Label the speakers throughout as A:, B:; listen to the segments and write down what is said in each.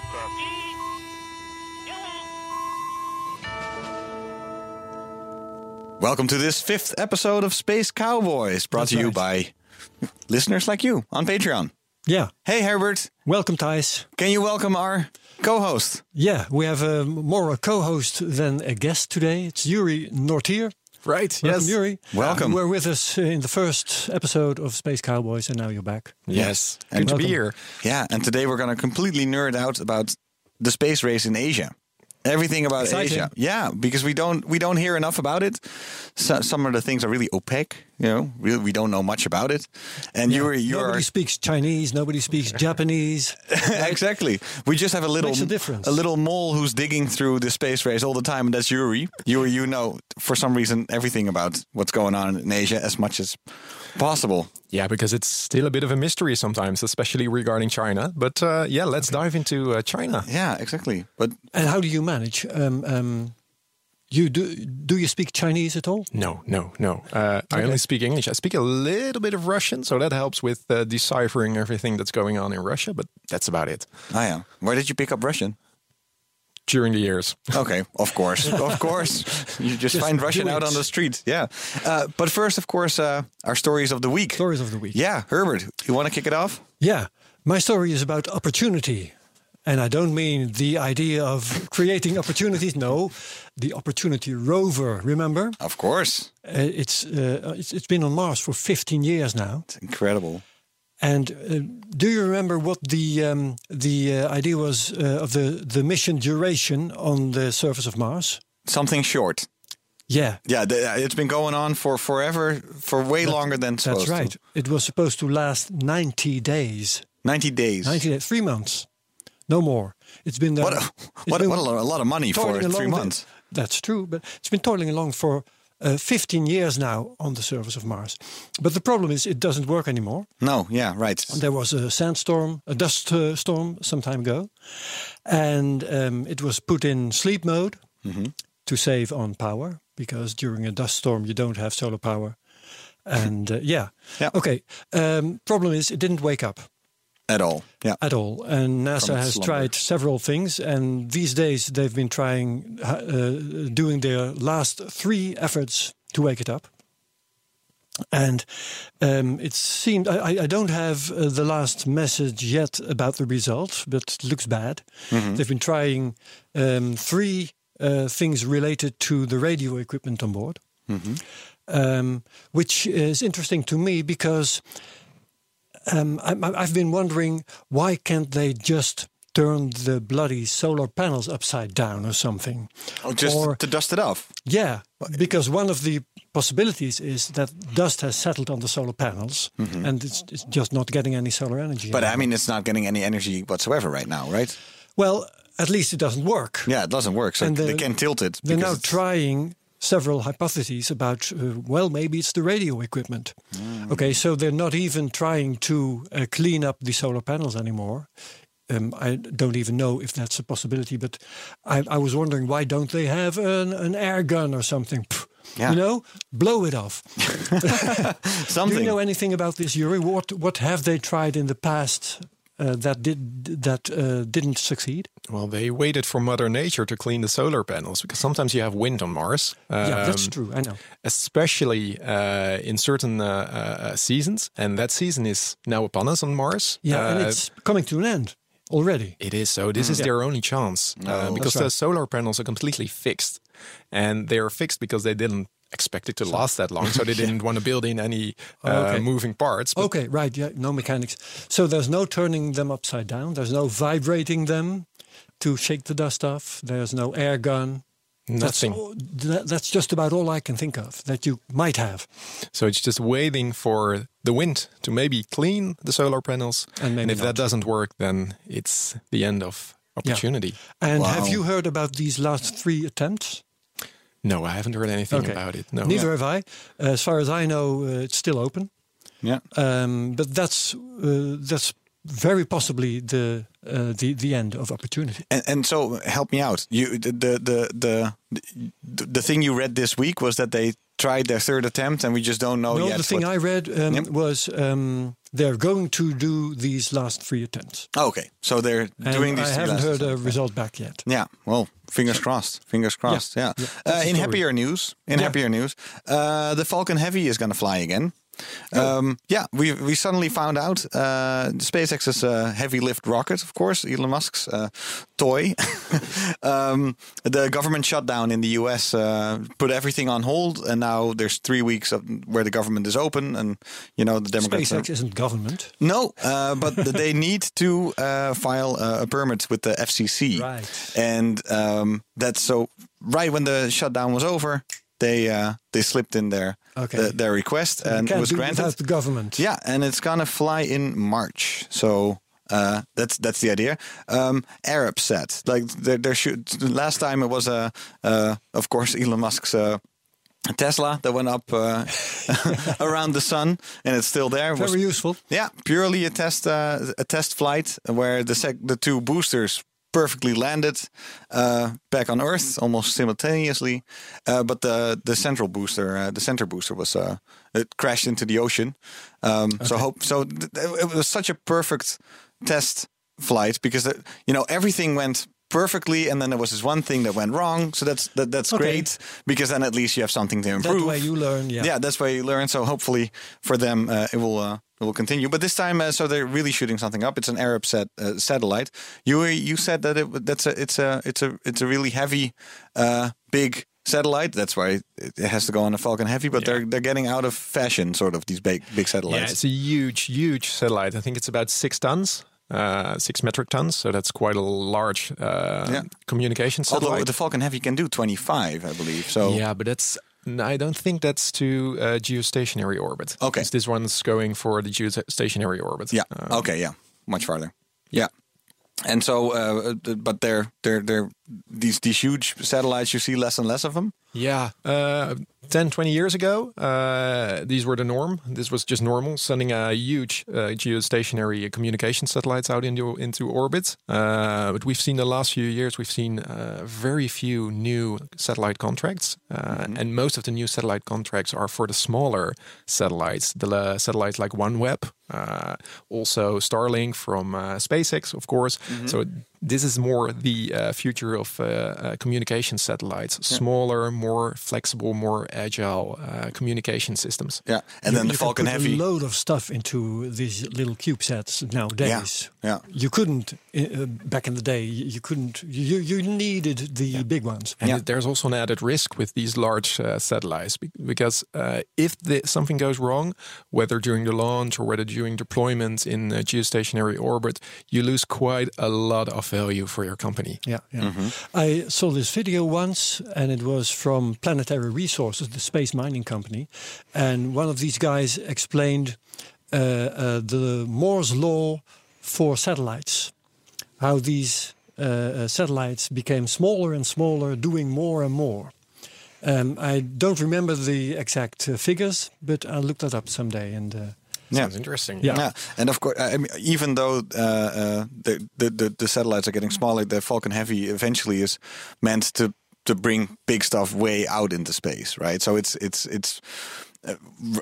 A: confirmed.
B: Welcome to this fifth episode of Space Cowboys, brought to you by listeners like you on Patreon.
C: Yeah.
B: Hey, Herbert,
C: Welcome, Thijs.
B: can you welcome our co host?
C: Yeah, we have a, more a co-host than a guest today. It's Yuri Nortier.
D: Right.
C: Welcome,
D: yes.
C: Yuri.
B: Welcome.
C: You were with us in the first episode of Space Cowboys, and now you're back.
D: Yes.
B: And
D: Good to be
C: welcome.
D: here.
B: Yeah, and today we're going to completely nerd out about the space race in Asia. Everything about
C: Exciting.
B: Asia. Yeah, because we don't we don't hear enough about it. So, some of the things are really opaque, you know. We, we don't know much about it. And you're you're
C: Nobody speaks Chinese. Nobody speaks Japanese.
B: exactly. We just have a little
C: Makes a difference.
B: little mole who's digging through the space race all the time, and that's Yuri. Yuri, you know for some reason everything about what's going on in Asia as much as possible.
D: Yeah, because it's still a bit of a mystery sometimes, especially regarding China. But uh, yeah, let's dive into uh, China.
B: Yeah, exactly. But
C: And how do you manage? Um, um, you do? Do you speak Chinese at all?
D: No, no, no. Uh, I only speak English. I speak a little bit of Russian, so that helps with uh, deciphering everything that's going on in Russia. But that's about it
B: I am. Where ah, did you pick up Russian?
D: during the years.
B: Okay, of course, of course. You just, find Russian
C: do
B: out
C: it.
B: on the street. Yeah. Uh, but first, of course, uh, our stories of the week.
C: Stories of the week.
B: Yeah, Herbert, you want to kick it off?
C: Yeah, my story is about opportunity. And I don't mean the idea of creating opportunities. No, the Opportunity Rover. Remember,
B: Of course.
C: uh, it's, uh, it's it's been on Mars for 15 years now.
B: It's incredible.
C: And uh, do you remember what the um, the uh, idea was uh, of the the mission duration on the surface of Mars?
B: Something short.
C: Yeah,
B: Yeah, th- uh, it's been going on for forever, for way longer than supposed
C: that's right.
B: to.
C: It was supposed to last 90 days.
B: 90 days.
C: 90 days, three months, no more. It's been there.
B: What, a, what, a, what a, lo- a lot of money for
C: toiling
B: three
C: along the-
B: months.
C: that's true, but it's been toiling along for uh, 15 years now on the surface of Mars. But the problem is, it doesn't work anymore.
B: No, yeah, right.
C: There was a sandstorm, a dust uh, storm some time ago, and um, it was put in sleep mode
B: Mm-hmm.
C: to save on power because during a dust storm you don't have solar power. And uh, yeah.
B: Yeah.
C: okay. Um, problem is, it didn't wake up
B: At all. Yeah.
C: at all. And NASA
B: its
C: has
B: slumber.
C: tried several things, and these days they've been trying, uh, uh, doing their last three efforts to wake it up. And um, it seemed I, I- I don't have uh, the last message yet about the results, but it looks bad. They've been trying um, three uh, things related to the radio equipment on board, um, which is interesting to me because um, I, I- I've been wondering why can't they just turn the bloody solar panels upside down or something?
B: Oh, just
C: or
B: to dust it off.
C: yeah, because one of the possibilities is that dust has settled on the solar panels and it's, it's just not getting any solar energy.
B: Mm-hmm. But I
C: anymore.
B: mean, it's not getting any energy whatsoever right now, right?
C: well, at least it doesn't work.
B: Yeah, it doesn't work. So
C: And
B: they
C: the-
B: can tilt it.
C: They're
B: because
C: now
B: it's-
C: trying several hypotheses about, uh, well, maybe it's the radio equipment.
B: Mm.
C: Okay, so they're not even trying to uh, clean up the solar panels anymore. Um, I don't even know if that's a possibility, but I, I was wondering why don't they have an, an air gun or something? Pff,
B: Yeah.
C: You know, blow it off.
B: something.
C: Do you know anything about this, Yuri? What what have they tried in the past uh, that did that uh, didn't succeed?
D: Well, they waited for Mother Nature to clean the solar panels because sometimes you have wind on Mars.
C: yeah, that's
D: Um,
C: true. I know.
D: especially uh, in certain uh, uh, uh, seasons. And that season is now upon us on Mars.
C: Yeah, and
D: Uh,
C: it's coming to an end already.
D: it is so.
C: Mm.
D: This is their only chance uh, because the solar panels are completely fixed, and they are fixed because they didn't expect it to last that long, so they didn't want to build in any uh,
C: Oh, okay.
D: moving parts. But
C: Okay, right. Yeah, no mechanics. So there's no turning them upside down. There's no vibrating them to shake the dust off. There's no air gun.
D: nothing.
C: That's, all- that, that's just about all I can think of that you might have.
D: So it's just waiting for the wind to maybe clean the solar panels,
C: And maybe
D: if
C: not.
D: that doesn't work, then it's the end of opportunity.
C: And have
B: Wow.
C: you heard about these last three attempts?
D: No, I haven't heard anything
C: Okay.
D: about it. No.
C: Neither have I. As far as I know, uh, it's still open.
B: Yeah.
C: Um, but that's uh, that's very possibly the uh, the the end of opportunity.
B: And, and so help me out. You the the the the, the thing you read this week was that they tried their third attempt and we just don't
D: Oh,
B: know
C: no,
B: yet.
C: the thing
B: what-
C: I read um,
B: Yep.
C: was um, they're going to do these last three attempts.
B: Oh, okay, so they're
C: And
B: doing these.
C: I
B: two
C: haven't
B: lessons.
C: heard a result back yet.
B: Yeah, well, fingers crossed. Fingers crossed. Yeah.
C: yeah,
B: Uh,
C: that's the
B: in
C: story.
B: happier news, in
C: Yeah.
B: happier news, uh, the Falcon Heavy is going to fly again.
C: Oh.
B: Um, yeah, we we suddenly found out uh, SpaceX's uh, heavy lift rocket, of course, Elon Musk's uh, toy. um, the government shutdown in the U.S. Uh, put everything on hold, and now there's three weeks of where the government is open, and you know the Democrats. are-
C: SpaceX isn't government.
B: no, uh, but they need to uh, file uh, a permit with the FCC.
C: Right.
B: And um, that's so right when the shutdown was over, they uh, they slipped in their
C: Okay.
B: the- their request and it
C: Can't
B: was
C: do without
B: granted.
C: the government.
B: Yeah, and it's gonna fly in March. So. Uh, that's that's the idea. Um, Arab set like there, there should last time it was a uh, of course Elon Musk's uh, Tesla that went up uh, around the sun and it's still there. It was
C: Very useful.
B: yeah, purely a test uh, a test flight where the sec- the two boosters perfectly landed uh, back on Earth almost simultaneously, uh, but the the central booster uh, the center booster was uh, it crashed into the ocean. Um, So hope so th- th- it was such a perfect test flight because the, you know everything went perfectly and then there was this one thing that went wrong so that's that, that's
C: Okay.
B: great because then at least you have something to
C: That
B: improve
C: way you learn. Yeah.
B: yeah. that's why you learn. So hopefully for them, uh, it will uh, it will continue. But this time, uh, so they're really shooting something up. It's an Arab set uh, satellite. You you said that it that's a it's a it's a it's a really heavy, uh, big satellite. That's why it it has to go on a Falcon Heavy. But they're they're getting out of fashion, sort of these big big
D: Yeah,
B: satellites.
D: it's a huge, huge satellite. I think it's about six tons, uh, six metric tons. So that's quite a large uh,
B: Yeah.
D: communication satellite.
B: Although the Falcon Heavy can do 25, I believe. So
D: Yeah, but that's. n- I don't think that's to uh, geostationary orbit.
B: Okay.
D: 'Cause This one's going for the geostationary orbit.
B: Yeah.
D: Uh,
B: okay. Yeah. Much farther. Yeah. And so, uh, but they're they're they're these these huge satellites. You see less and less of them.
D: Yeah, uh, 10, 20 years ago, uh, these were the norm. This was just normal, sending a huge uh, geostationary communication satellites out into, into orbit. Uh, but we've seen the last few years, we've seen uh, very few new satellite contracts. Uh, And most of the new satellite contracts are for the smaller satellites, the la- satellites like OneWeb, uh, also Starlink from uh, SpaceX, of course. So this is more the uh, future of uh, uh, communication satellites, smaller, more flexible, more agile uh, communication systems.
B: Yeah, and then
C: You-
B: the
C: you can
B: Falcon
C: put
B: Heavy.
C: A load of stuff into these little CubeSats nowadays.
B: yeah.
C: You couldn't uh, uh, back in the day. You you couldn't. You you needed the big ones.
D: And there's also an added risk with these large uh, satellites be- because uh, if the, something goes wrong, whether during the launch or whether during deployment in uh, geostationary orbit, you lose quite a lot of value for your company.
C: Yeah, yeah.
D: Mm-hmm.
C: I saw this video once, and it was from Planetary Resources, the space mining company, and one of these guys explained uh, uh, the Moore's law for satellites, how these uh, uh, satellites became smaller and smaller, doing more and more. Um, I don't remember the exact uh, figures, but I'll look that up someday. And uh,
B: Yeah.
D: Sounds interesting.
C: Yeah.
B: Yeah, and of course, I mean, even though uh, uh, the, the the the satellites are getting
C: Mm.
B: smaller, the Falcon Heavy eventually is meant to to bring big stuff way out into space, right? So it's it's it's uh,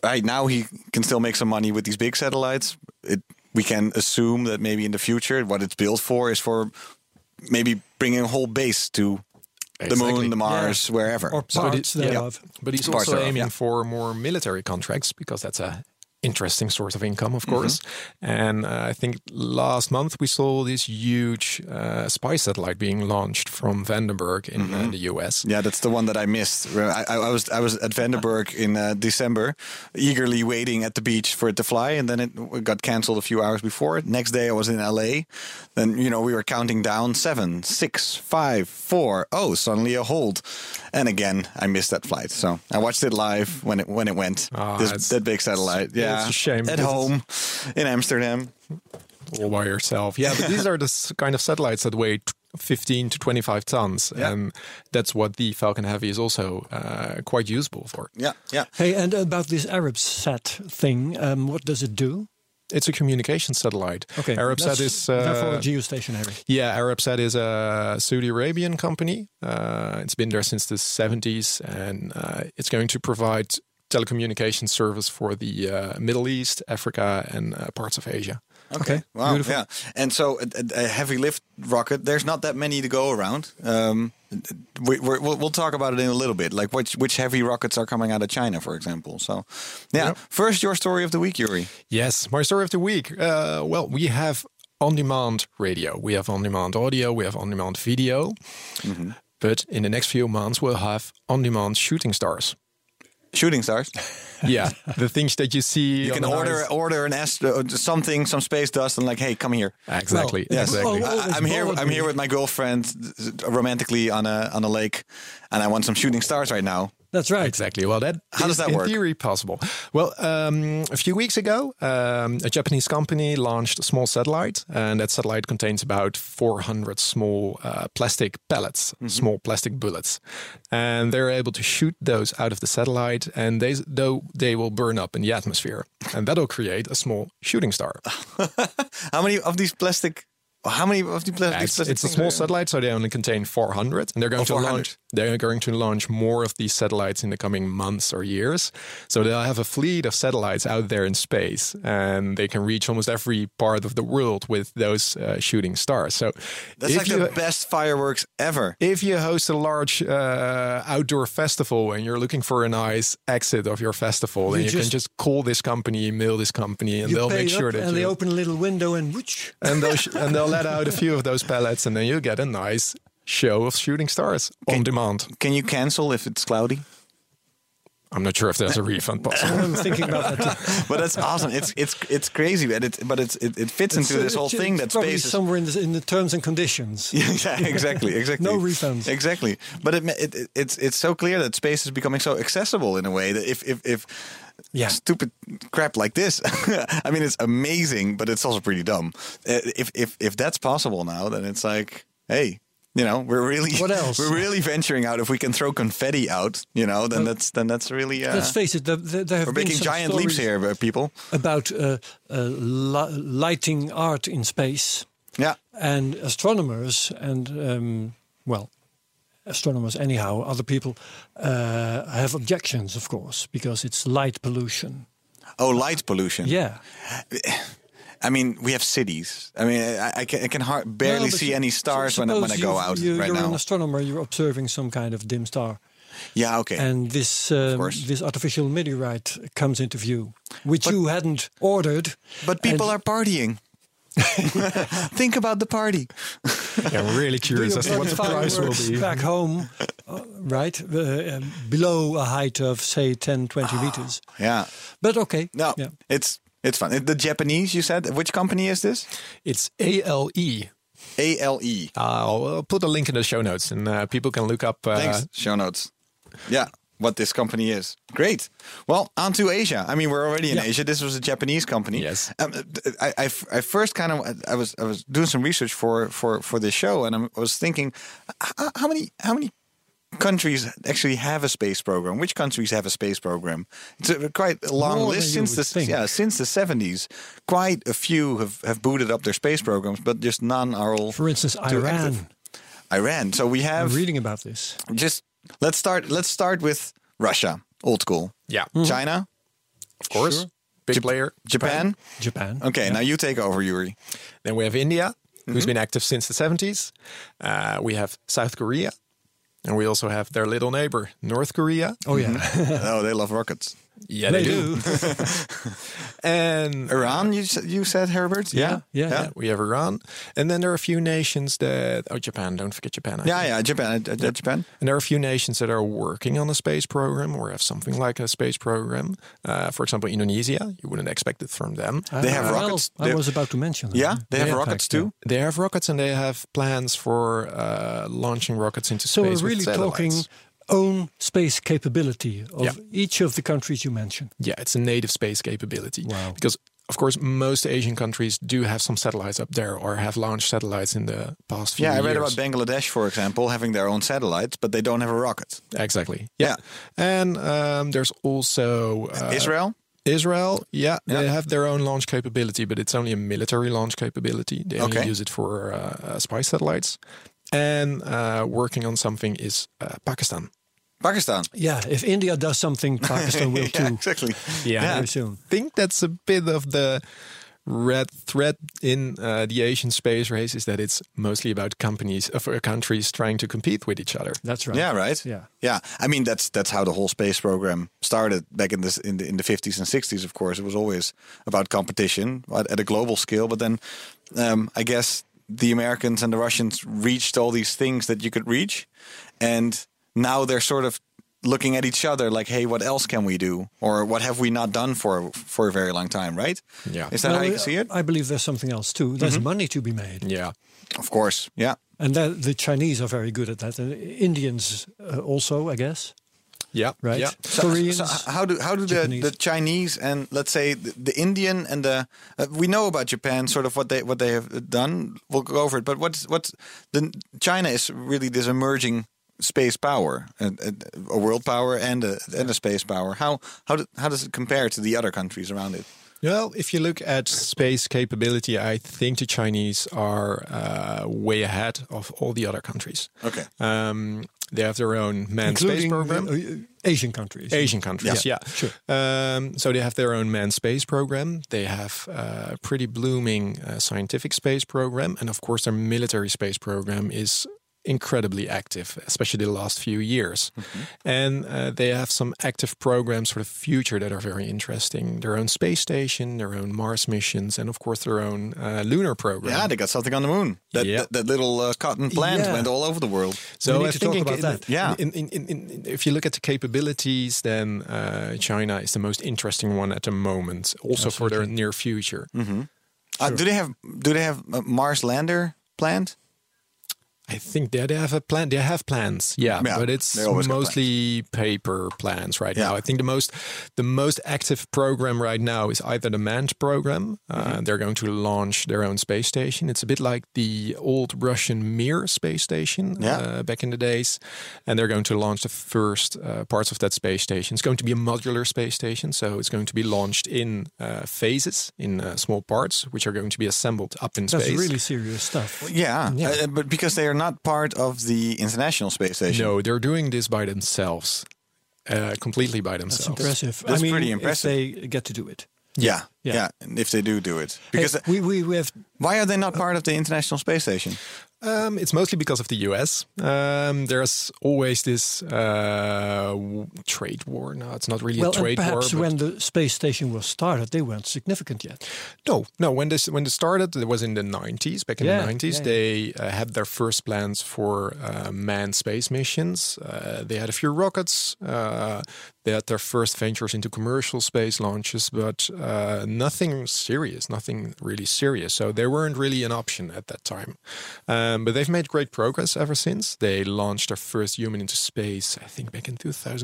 B: right now he can still make some money with these big satellites. It we can assume that maybe in the future what it's built for is for maybe bringing a whole base to the moon,
D: Exactly.
B: the Mars, wherever.
C: or
D: So it-
C: parts
D: yeah.
C: thereof.
D: But he's
B: Parts
D: also
B: thereof,
D: aiming
B: yeah.
D: for more military contracts because that's a interesting source of income,
B: Mm-hmm.
D: of course. And uh, I think last month we saw this huge uh, spy satellite being launched from Vandenberg in
B: Mm-hmm.
D: uh, the US.
B: Yeah, that's the one that I missed. I, I I was I was at Vandenberg in uh, December, eagerly waiting at the beach for it to fly, and then it got canceled a few hours before. Next day, I was in LA, and you know we were counting down seven, six, five, four. Oh, suddenly a hold, and again I missed that flight. So I watched it live when it when it went.
D: Ah,
B: this,
D: it's-
B: that big satellite, yeah,
D: it's a shame
B: At
D: because
B: home in Amsterdam,
D: all by yourself. Yeah, but these are the s- kind of satellites that weigh t- 15 to 25 tons,
B: Yeah.
D: and that's what the Falcon Heavy is also uh, quite usable for.
B: Yeah, yeah.
C: Hey, and about this Arab sat thing, um, what does it do?
D: It's a communication satellite. Arabsat
C: that's
D: is
C: therefore
D: uh,
C: geostationary.
D: Yeah, Arabsat is a Saudi Arabian company. Uh, it's been there since the 70s, and uh, it's going to provide telecommunication service for the uh, Middle East, Africa, and uh, parts of Asia.
C: Okay,
B: Wow.
C: beautiful.
B: Yeah. And so a, a a heavy lift rocket, there's not that many to go around. Um, we, we're, we'll, we'll talk about it in a little bit, like which which heavy rockets are coming out of China, for example. So, yeah. First, your story of the week, Yuri.
D: Yes, my story of the week. Uh, well, we have on demand radio, we have on demand audio, we have on demand video.
B: Mm-hmm.
D: But in the next few months, we'll have on demand shooting stars.
B: Shooting stars.
D: Yeah, the things that you see.
B: You
D: on
B: can
D: the
B: order
D: nice-
B: order an astro, something, some space dust, and like, hey, come here.
D: Exactly.
B: Yes.
D: Exactly.
C: Oh,
B: I-
C: always
B: I'm here.
C: bothered
B: I'm here
C: me.
B: with my girlfriend, romantically on a on a lake, and I want some shooting stars right now.
C: That's right.
D: Exactly. Well, that
B: How does
D: is
B: that
D: in
B: work?
D: theory possible. Well, um, a few weeks ago, um, a Japanese company launched a small satellite, and that satellite contains about 400 small uh, plastic pellets,
B: Mm-hmm.
D: small plastic bullets, and they're able to shoot those out of the satellite, and they though they will burn up in the atmosphere, and that'll create a small shooting star.
B: How many of these plastic? How many of the plastic?
D: It's, it's a small satellite, so they only contain 400, and they're going
B: Oh,
D: to
B: 400.
D: launch. They're going to launch more of these satellites in the coming months or years. So they'll have a fleet of satellites out there in space, and they can reach almost every part of the world with those uh, shooting stars. So
B: That's
D: if
B: like
D: you-
B: the best fireworks ever.
D: if you host a large uh, outdoor festival and you're looking for a nice exit of your festival, then
C: You
D: you can
C: just-
D: just call this company, mail this company, and
C: You
D: they'll
C: pay
D: make sure
C: up
D: that
C: and they
D: you-
C: open a little window and whoosh.
D: and they'll sh- and they'll let out a few of those pellets, and then you get a nice show of shooting stars on demand.
B: Can you cancel if it's cloudy?
D: I'm not sure if there's a refund possible.
C: I'm thinking about that. too.
B: But that's awesome. It's it's it's crazy, but it but it's it, it fits into
C: So
B: this whole
C: it's-
B: thing
C: it's
B: that
C: probably
B: space. Is,
C: somewhere in the, in the terms and conditions.
B: yeah, exactly, exactly.
C: No refunds.
B: Exactly. But it, ma- it, it it's it's so clear that space is becoming so accessible in a way that if if if
C: Yeah.
B: stupid crap like this, I mean, it's amazing, but it's also pretty dumb. Uh, If if if that's possible now, then it's like, hey. You know, we're really
C: What else?
B: we're really venturing out. If we can throw confetti out, you know, then that's then that's really uh,
C: Let's face it, there, there there have
B: we're
C: been
B: making
C: some
B: giant leaps
C: stories
B: here, uh, people.
C: about uh, uh, li- lighting art in space.
B: Yeah,
C: and astronomers and um, well astronomers anyhow other people uh, have objections of course because it's light pollution
B: Oh, light pollution.
C: yeah
B: I mean, we have cities. I mean, I, I can, I can har- barely
C: No, but
B: see
C: you-
B: any
C: so-
B: stars when, I, when I
C: suppose
B: go
C: you've-
B: out
C: you,
B: right
C: you're an
B: now.
C: astronomer you're observing some kind of dim star
B: Yeah, okay.
C: and this um,
B: course.
C: this artificial meteorite comes into view which you hadn't ordered
B: but people are partying. Think about the party.
D: Yeah, I'm really curious as to what the price will be.
C: back home uh, right uh, um, below a height of say 10 20 meters
B: Yeah.
C: but okay
B: Ah. No,
C: yeah.
B: it's it's fun. It- The Japanese, you said. Which company is this?
D: It's ALE.
B: A L E.
D: I'll I'll put a link in the show notes, and uh, people can look up. Uh,
B: Thanks. Uh-huh. Show notes. Yeah, what this company is. Great. Well, on to Asia. I mean, we're already in Asia. This was a Japanese company.
D: Yes.
B: Um, I, I, I first kind of I was I was doing some research for for for this show, and I'm- I was thinking, h- how many how many countries actually have a space program? Which countries have a space program? It's a quite a long
C: More than
B: list
C: you
B: since the
C: would think.
B: yeah since the 70s. Quite a few have have booted up their space programs, but just none are all.
C: for instance
B: too active.
C: iran
B: Iran. So we
C: I'm
B: have
C: reading about this.
B: just let's start let's start with Russia, old school.
D: yeah,
B: China,
D: of course. Big
B: Jap-
D: player.
B: Japan.
C: Japan.
B: Okay, now you take over, Yuri.
D: Then we have India,
C: Mm-hmm.
D: who's been active since the 70s. Uh, we have South Korea. And we also have their little neighbor, North Korea.
C: Oh yeah.
B: oh, they love rockets.
D: yeah,
C: they do.
D: And
B: Iran, you s- you said Herbert?
C: Yeah, yeah,
B: Yeah,
C: yeah.
D: we have Iran. And then there are a few nations that oh Japan, don't forget Japan. I
B: yeah,
D: think.
B: yeah, Japan, uh, uh, Japan.
D: And there are a few nations that are working on a space program or have something like a space program. Uh, for example, Indonesia. You wouldn't expect it from them.
B: They have
C: Uh, Well,
B: rockets.
C: I
B: They-
C: was about to mention. that.
B: Yeah, they have
C: in
B: rockets
C: fact,
B: too?
C: yeah.
D: They have rockets and they have plans for uh, launching rockets into
C: So
D: space.
C: we're
D: with
C: really talking
D: satellites.
C: own space capability of
D: Yeah.
C: each of the countries you mentioned.
D: Yeah, it's a native space capability.
C: Wow.
D: Because of course, most Asian countries do have some satellites up there or have launched satellites in the past few
B: Yeah, I
D: years.
B: read about Bangladesh, for example, having their own satellites, but they don't have a rocket.
D: Exactly. Yeah. And um, there's also uh,
B: Israel?
D: Israel, yeah, they
B: Yeah.
D: have their own launch capability, but it's only a military launch capability. They only
B: Okay.
D: use it for uh, uh, spy satellites. And uh, working on something is uh, Pakistan.
B: Pakistan.
C: Yeah, if India does something, Pakistan will
B: Yeah,
C: too.
B: exactly.
D: Yeah.
C: Very soon.
D: think that's a bit of the red thread in uh, the Asian space race is that it's mostly about companies of uh, countries trying to compete with each other.
C: That's right.
B: Yeah, right.
C: Yeah.
B: yeah. I mean, that's that's how the whole space program started back in this in the in the fifties and sixties. Of course, it was always about competition at, at a global scale. But then, um, I guess the Americans and the Russians reached all these things that you could reach, and now they're sort of looking at each other like, "Hey, what else can we do? Or what have we not done for for a very long time?" Right?
D: Yeah.
B: Is that how
C: Well, uh,
B: you can see it? Mm-hmm.
C: I believe there's something else too. There's money to be made.
D: Yeah.
B: Of course. Yeah.
C: And that, the Chinese are very good at that. The Indians uh, also, I guess.
D: Yeah.
C: Right.
D: Yeah.
B: So-
C: Koreans.
B: So h- how do how do the,
C: Japanese.
B: the Chinese and let's say the, the Indian and the uh, we know about Japan sort of what they what they have done. We'll go over it, but what's what's the China is really this emerging space power, a, a, a world power and a and a space power. How how do, how does it compare to the other countries around it?
D: Well, if you look at space capability, I think the Chinese are uh, way ahead of all the other countries.
B: Okay.
D: Um, they have their own manned space
C: including
D: program.
C: uh, uh, Asian countries.
D: Asian countries, yeah.
C: Yeah, sure.
D: Um, so they have their own manned space program. They have a pretty blooming uh, scientific space program. And of course, their military space program is incredibly active, especially the last few years.
C: Mm-hmm.
D: And uh, they have some active programs for the future that are very interesting their own space station, their own Mars missions, and of course, their own uh, lunar program.
B: Yeah, they got something on the moon. That
D: Yeah.
B: that, that little uh, cotton plant
C: Yeah.
B: went all over the world.
D: So
C: We need to
D: I think
C: talk
D: in-
C: about
D: in-
C: that.
B: Yeah.
D: In, in, in, in, in- if you look at the capabilities, then uh, China is the most interesting one at the moment, also for their near future.
B: Uh, do they have do they have a Mars lander planned?
D: I think they they have a plan. They have plans, yeah,
B: Yeah,
D: but it's
B: they always got
D: mostly paper plans right
B: Yeah.
D: now. I think the most the most active program right now is either the manned program. Uh,
B: Mm-hmm.
D: they're going to launch their own space station. It's a bit like the old Russian Mir space station
B: Yeah.
D: uh, back in the days, and they're going to launch the first uh, parts of that space station. It's going to be a modular space station, so it's going to be launched in uh, phases, in uh, small parts, which are going to be assembled up in
C: That's
D: space.
C: really serious stuff.
B: Yeah,
D: Yeah.
B: Uh, but because they are not part of the International Space Station.
D: No, they're doing this by themselves, uh, completely by
C: That's
D: themselves.
C: impressive.
B: that's
C: I mean,
B: pretty
C: if
B: impressive.
C: they get to do it.
B: Yeah, yeah.
C: Yeah.
B: And if they do do it,
C: Hey,
B: because uh,
C: we, we, we have
B: why are they not part of the International Space Station?
D: Um, it's mostly because of the US. Um, there's always this uh, w- trade war. No, it's not really
C: well,
D: a
C: and
D: trade war.
C: perhaps
D: but-
C: when the space station was started, they weren't significant yet.
D: no, no. When this when this started, it was in the 90s. Back in
C: Yeah,
D: the 90s,
C: yeah,
D: they uh, had their first plans for uh, manned space missions. Uh, they had a few rockets. Uh, they had their first ventures into commercial space launches, but uh, nothing serious, nothing really serious. So they weren't really an option at that time. Um, but they've made great progress ever since. They launched their first human into space, I think, back in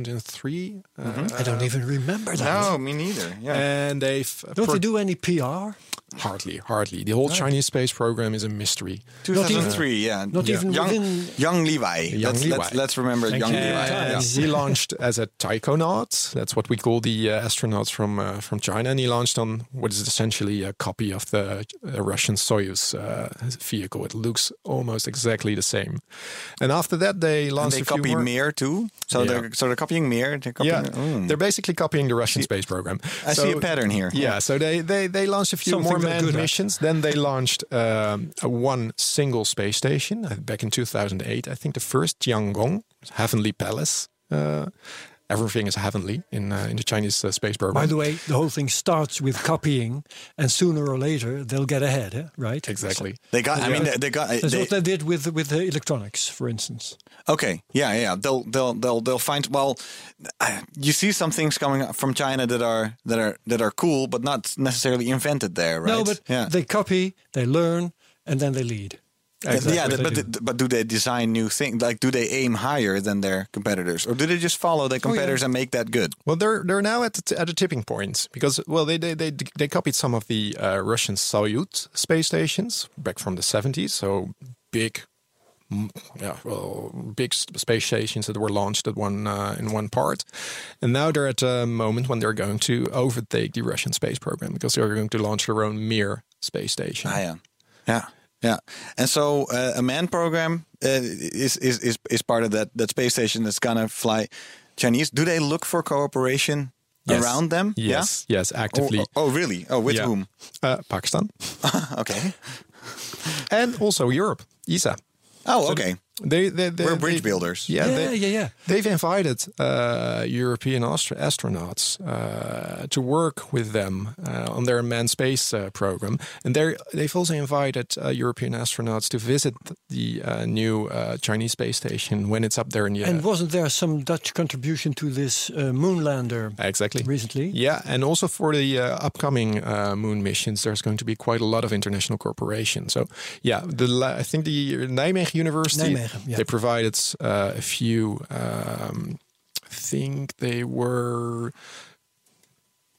D: 2003. Uh,
C: I don't even remember that.
B: No, me neither. Yeah,
D: and they've
C: Don't
D: pro-
C: they do any PR?
D: Hardly, hardly. The whole Chinese space program is a mystery.
B: 2003. Yeah,
C: Not
B: Yeah.
C: even
B: young,
C: within-
B: young Levi. let's, Let's,
D: Levi.
B: let's remember
C: Thank
B: young
C: you.
B: Levi.
C: Yeah.
D: And he launched as a taikonaut. That's what we call the uh, astronauts from uh, from China. And he launched on what is essentially a copy of the uh, Russian Soyuz uh, vehicle. It looks almost exactly the same. And after that, they
B: And
D: launched
B: they
D: a few
B: copy
D: more-
B: Mir too. So
D: Yeah.
B: they're so they're copying Mir. They're copying,
D: Yeah,
B: Mm.
D: they're basically copying the Russian space program.
B: I see a pattern here.
D: Yeah, so they they they launched a few
C: Something
D: more
C: they're
D: manned
C: good at.
D: missions. Then they launched um, a one single space station uh, back in 2008. I think the first Tiangong Heavenly Palace. Uh, everything is heavenly in uh, in the Chinese uh, space program.
C: By the way, the whole thing starts with copying, and sooner or later they'll get ahead, eh? right?
D: exactly.
B: They got. I mean, they, they got.
C: That's
B: they-
C: what they did with with the electronics, for instance.
B: Okay. Yeah, yeah. They'll they'll they'll they'll find well I- you see some things coming up from China that are that are that are cool but not necessarily invented there, right?
C: No, but
B: yeah.
C: they copy, they learn, and then they lead.
D: Exactly.
B: yeah,
D: They
B: but
D: do.
B: but do they design new things? Like, do they aim higher than their competitors, or do they just follow
D: Oh,
B: their competitors and make that good?
D: Well, they're they're now at the t- at a tipping point because well they they they, they copied some of the uh, Russian Soyuz space stations back from the seventies, so big. mm, Yeah, well, big s- space stations that were launched at one uh, in one part, and now they're at a moment when they're going to overtake the Russian space program because they're going to launch their own Mir space station.
B: Ah, yeah, yeah, yeah. And so uh, a manned program uh, is, is is is part of that that space station that's gonna fly Chinese. Do they look for cooperation
D: Yes.
B: around them?
D: Yes, yes,
B: Yeah. Oh,
D: actively.
B: oh, oh, really? Oh, with
D: Yeah.
B: whom?
D: Uh, Pakistan
B: Okay.
D: and also Europe, ESA.
B: Oh, okay.
D: They, they, they
B: We're bridge
D: they-
B: builders.
D: Yeah,
C: Yeah,
D: they-
C: yeah, yeah.
D: They've invited uh, European astro- astronauts uh, to work with them uh, on their manned space uh, program, and they they've also invited uh, European astronauts to visit the uh, new uh, Chinese space station when it's up there in the
C: And wasn't there some Dutch contribution to this uh, moonlander
D: exactly
C: recently?
D: Yeah, and also for the uh, upcoming uh, moon missions, there's going to be quite a lot of international cooperation. So, yeah, the la- I think the Nijmegen University
C: Nijmegen, yeah.
D: they provided uh, a few. Um, I think they were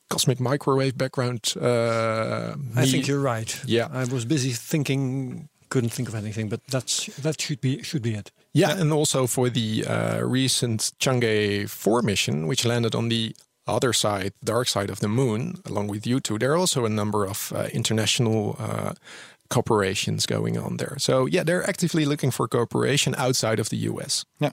D: cosmic microwave background. Uh,
C: I
D: me-
C: think you're right.
D: Yeah.
C: I was busy thinking, couldn't think of anything, but that's that should be should be it.
D: Yeah, and also for the uh, recent Chang'e 4 mission, which landed on the other side, dark side of the moon, along with you two, there are also a number of uh, international uh, corporations going on there. So, yeah, they're actively looking for cooperation outside of the US.
B: Yeah.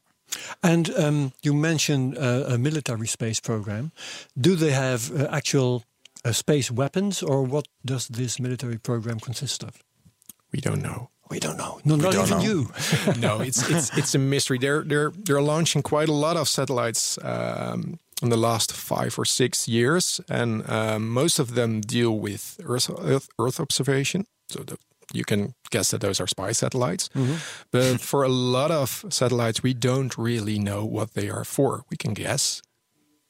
C: And um, you mentioned uh, a military space program. Do they have uh, actual uh, space weapons, or what does this military program consist of?
D: We don't know.
C: We don't know. No, not
B: don't
C: even
B: know.
C: you.
D: no, it's it's it's a mystery. They're they're they're launching quite a lot of satellites um, in the last five or six years, and um, most of them deal with Earth Earth, Earth observation. So the, you can guess that those are spy satellites. But for a lot of satellites, we don't really know what they are for. We can guess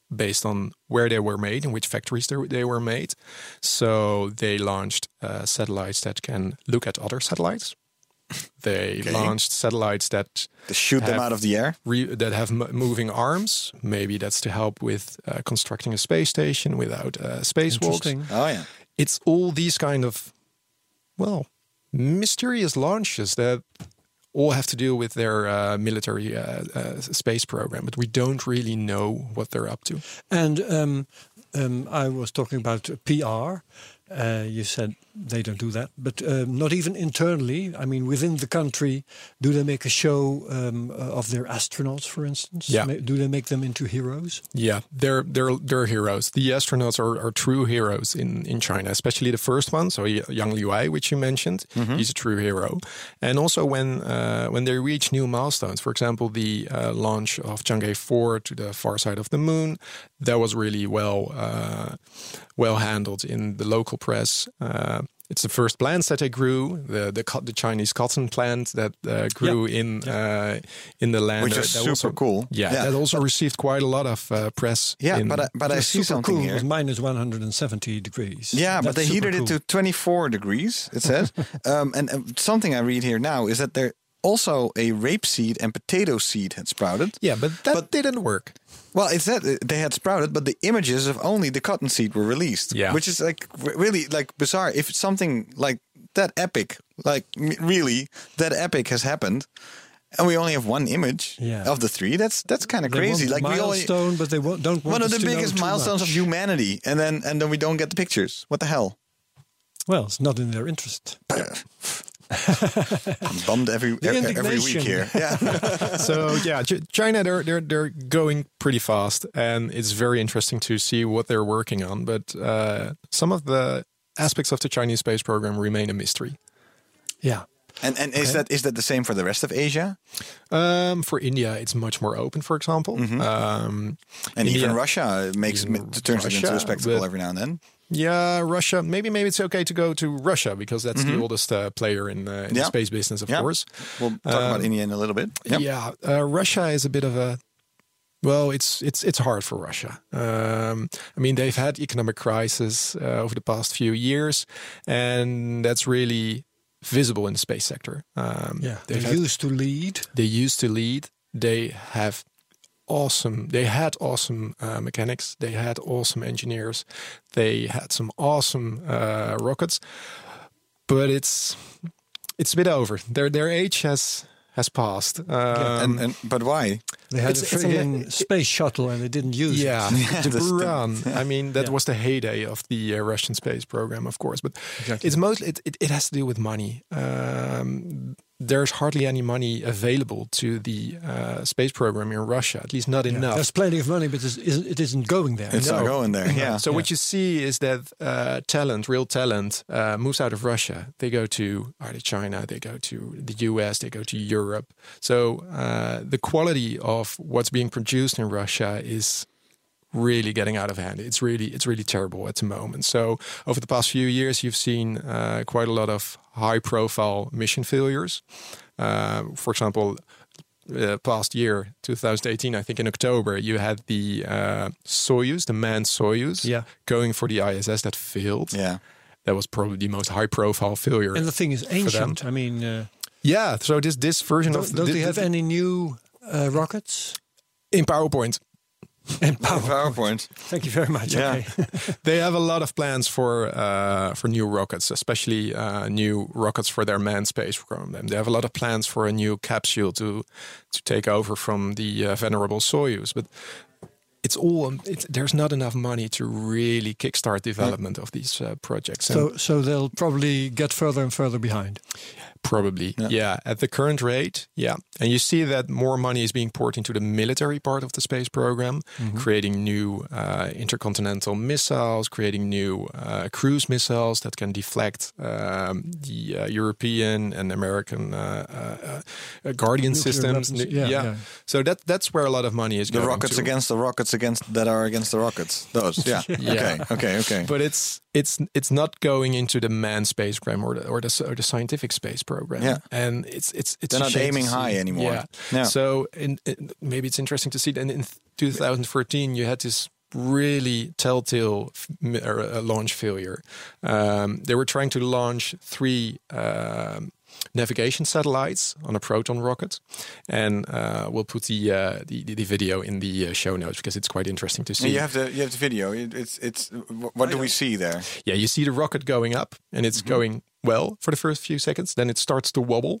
D: based on where they were made and which factories they they were made. So they launched uh, satellites that can look at other satellites. They launched satellites that
B: To shoot them
D: Have-
B: out of the air.
D: re- that have m- moving arms. Maybe that's to help with uh, constructing a space station without uh, spacewalks.
C: Interesting.
B: Oh yeah.
D: It's all these kind of well mysterious launches that all have to do with their uh, military uh, uh, space program, but we don't really know what they're up to.
C: And um, um, I was talking about PR. Uh, you said they don't do that, but um, not even internally. I mean, within the country, do they make a show um, uh, of their astronauts, for instance?
D: Yeah.
C: Ma- Do they make them into heroes?
D: Yeah, they're they're they're heroes. The astronauts are, are true heroes in, in China, especially the first one. So Y- Yang Liuwei, which you mentioned,
B: Mm-hmm.
D: he's a true hero. And also when uh, when they reach new milestones, for example, the uh, launch of Chang'e four to the far side of the moon, that was really well uh, well handled in the local press. Uh, it's the first plants that they grew, the the, co- the Chinese cotton plant that uh, grew in Uh, in the land,
B: Which
D: That-
B: is
D: that
B: super
D: also-
B: cool.
D: Yeah,
B: Yeah.
D: that also received quite a lot of uh, press.
B: Yeah,
D: in-
B: but I, but I see
C: super
B: something
C: cool.
B: here.
C: It was minus 170 degrees.
B: Yeah, but
C: That's
B: they
C: super
B: heated it
C: cool.
B: to 24 degrees, it says. um, and uh, something I read here now is that there also a rapeseed and potato seed had sprouted.
D: yeah, but that didn't work.
B: Well, it said uh, they had sprouted, but the images of only the cotton seed were released.
D: Yeah.
B: Which is like r- really like bizarre. If something like that epic, like m- really that epic has happened. And we only have one image
C: Yeah.
B: of the three. That's that's kind of
C: They want
B: crazy.
C: the
B: Like we only
C: milestone, but they won't, don't want
B: one of
C: us
B: the
C: to know
B: biggest
C: too
B: milestones
C: much.
B: of humanity, and then and then we don't get the pictures. What the hell?
C: Well, it's not in their interest.
B: I'm bummed every
C: The
B: every every week
C: indignation.
B: here. Yeah.
D: so yeah, Ch- China they're they're they're going pretty fast, and it's very interesting to see what they're working on. But uh, some of the aspects of the Chinese space program remain a mystery.
C: Yeah.
B: And and is that is that the same for the rest of Asia
D: Um, for India, it's much more open. For example,
B: Mm-hmm.
D: um,
B: and even
D: India-
B: Russia makes
D: Even
B: it turns it into a
D: Russia,
B: spectacle
D: but-
B: every now and then.
D: Yeah, Russia. Maybe maybe it's okay to go to Russia because that's the oldest uh, player in, uh, in the
B: Mm-hmm. Yeah.
D: space business, of
B: Yeah.
D: course. Um,
B: We'll talk about India in a little bit. Yep.
D: Yeah, uh, Russia is a bit of a well, it's it's it's hard for Russia. Um, I mean, they've had economic crisis uh, over the past few years, and that's really visible in the space sector. Um,
C: Yeah,
D: they've
C: they
D: had-
C: used to lead.
D: they used to lead. They have awesome. They had awesome uh, mechanics. They had awesome engineers. They had some awesome uh, rockets. But it's it's a bit over. Their their age has has passed. Um, yeah,
B: and, and but why?
C: They had
D: It's-
C: a
D: it's a le-
C: friggin' space shuttle and they didn't use it.
D: the
B: that's-
D: Buran. I mean, that
C: Yeah.
D: was the heyday of the uh, Russian space program, of course. But it's mostly it, it, it has to do with money. Um, there's hardly any money available to the uh, space program in Russia, at least not enough.
C: There's plenty of money, but it's- isn't- it isn't going there.
B: It's not
D: No.
B: going there. Yeah.
D: So what you see is that uh, talent, real talent, uh, moves out of Russia. They go to either China, they go to the US, they go to Europe. So uh, the quality of what's being produced in Russia is really getting out of hand. It's really it's really terrible at the moment. So over the past few years, you've seen uh, quite a lot of high-profile mission failures. Uh, for example, uh, past year, 2018, I think in October, you had the uh, Soyuz, the manned Soyuz,
C: Yeah.
D: going for the ISS that failed.
B: yeah.
D: That was probably the most high-profile failure.
C: And the thing is ancient. I mean, uh,
D: yeah, so this this version
C: don't,
D: of
C: don't
D: thi-
C: they have
D: thi-
C: any new uh, rockets?
D: in PowerPoint.
C: And power.
B: PowerPoint.
C: Thank you very much.
B: Yeah.
C: Okay.
D: They have a lot of plans for uh, for new rockets, especially uh, new rockets for their manned space program. They have a lot of plans for a new capsule to to take over from the uh, venerable Soyuz, but. It's all. It's, there's not enough money to really kickstart development of these uh, projects. And
C: so, so they'll probably get further and further behind.
D: Probably, yeah. At the current rate, yeah. And you see that more money is being poured into the military part of the space program,
C: Mm-hmm.
D: creating new uh, intercontinental missiles, creating new uh, cruise missiles that can deflect um, the uh, European and American uh, uh, uh, Guardian
C: Nuclear weapons,
D: systems. Nu-
C: yeah, yeah.
D: So that that's where a lot of money is
B: The
D: going.
B: rockets
D: to.
B: against the rockets against that are against the rockets. Those. Yeah. Okay. Okay. Okay.
D: But it's it's it's not going into the manned space program or the or the, or the scientific space program.
B: Yeah.
D: and it's it's it's
B: They're
D: a
B: not
D: shame to
B: aiming
D: see.
B: high anymore.
D: Yeah.
B: No.
D: So in, in- maybe it's interesting to see that in 2014 you had this really telltale f- m- or, uh, launch failure. Um, they were trying to launch three. Um, Navigation satellites on a Proton rocket, and uh, we'll put the, uh, the the the video in the uh, show notes because it's quite interesting to see.
B: you have the you have the video. It, it's it's what do we see there?
D: yeah, you see the rocket going up and it's going well for the first few seconds. Then it starts to wobble.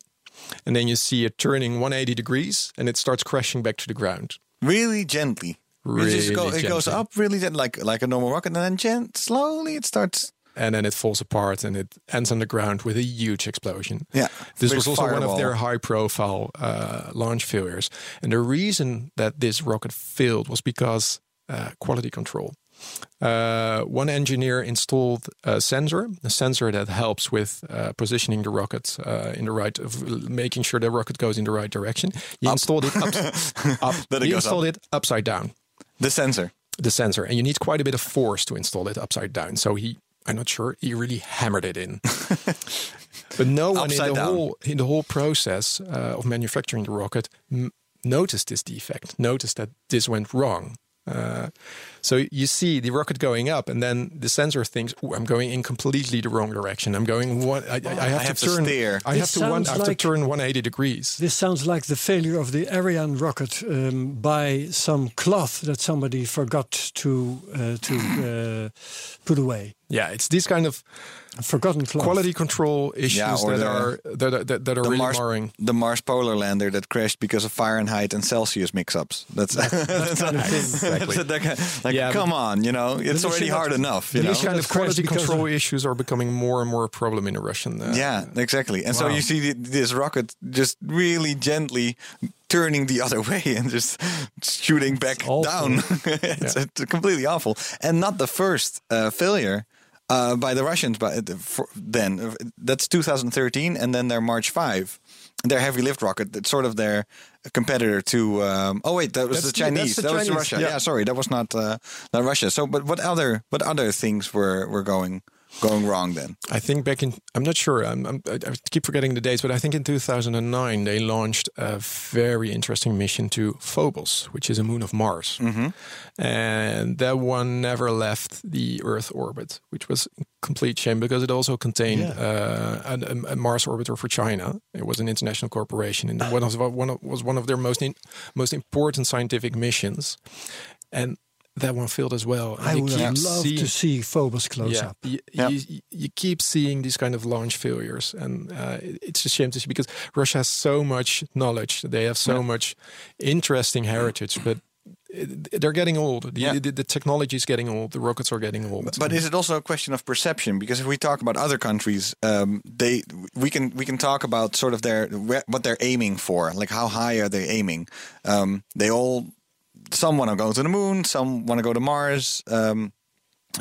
D: And then you see it turning 180 degrees and it starts crashing back to the ground.
B: Really gently. it, just
D: Really
B: go- it goes
D: gently.
B: up really gen- like like a normal rocket, and then gent slowly it starts.
D: And then it falls apart and it ends on the ground with a huge explosion.
B: Yeah,
D: This
B: big
D: was also one of
B: fireball.
D: their high profile uh, launch failures. And the reason that this rocket failed was because uh, quality control. Uh, one engineer installed a sensor, a sensor that helps with uh, positioning the rocket uh, in the right, of making sure the rocket goes in the right direction. He installed it up, up.
B: Then it
D: He
B: goes
D: installed it upside down,
B: The sensor.
D: the sensor, and you need quite a bit of force to install it upside down. So he, I'm not sure, he really hammered it in. but no one in
B: Upside
D: the
B: down.
D: whole in the whole process uh, of manufacturing the rocket m- noticed this defect, noticed that this went wrong. Uh, so you see the rocket going up, and then the sensor thinks, "Ooh, I'm going in completely the wrong direction. I'm going one. I, I, I have,
B: have
D: to
B: to
D: turn.
B: steer.
D: I have
C: This
D: to one.
C: sounds
D: I have to
C: like-
D: turn 180 degrees."
C: This sounds like the failure of the Ariane rocket um, by some cloth that somebody forgot to uh, to uh, put away.
D: Yeah, it's these kind of
C: A forgotten cloth.
D: quality control issues
B: or
D: that,
B: the-
D: are, that are that that are really
B: Mars,
D: marring.
B: the Mars polar lander that crashed because of Fahrenheit and Celsius mix-ups. That's that's
D: kind of thing. Exactly.
B: that kind- like,
D: Yeah,
B: come on, you know, it's
C: they
B: already
C: should not-
B: hard enough. You
C: they
B: know?
D: These kind of
C: Of course,
D: quality
C: because
D: control issues are becoming more and more a problem in the Russian. Uh,
B: Yeah, exactly. And so you see th- this rocket just really gently turning the other way and just shooting back
C: awful.
B: down. it's, it's completely awful, and not the first uh, failure. Uh, by the Russians, but for then uh, that's 2013, and then their March 5, their heavy lift rocket, that's sort of their competitor to. Um, oh wait, that was
D: That's-
B: the Chinese.
D: that's the
B: that was
D: Chinese,
B: Russia.
D: yeah.
B: Yeah. sorry, that was not uh, not Russia. So, but what other what other things were were going? going wrong then?
D: I think back in, I'm not sure, I'm, I'm, I I keep forgetting the dates, but I think in 2009 they launched a very interesting mission to Phobos, which is a moon of Mars.
C: Mm-hmm.
D: And that one never left the Earth orbit, which was a complete shame because it also contained uh, an- a, a Mars orbiter for China. It was an international corporation and one of, one of, was one of their most, in, most important scientific missions. And that one failed as well. And
C: I
D: you
C: would
D: keep
C: have loved
D: seeing-
C: to see Phobos close up.
D: you,
B: Yeah.
D: you, you keep seeing these kind of launch failures, and uh, it- it's a shame to see because Russia has so much knowledge. They have so much interesting heritage, but it- they're getting old. The,
B: Yeah.
D: the, the technology is getting old. The rockets are getting old.
B: But is it also a question of perception? Because if we talk about other countries, um, they we can we can talk about sort of their where- what they're aiming for, like how high are they aiming? Um, they all some want to go to the moon, some want to go to Mars. Um,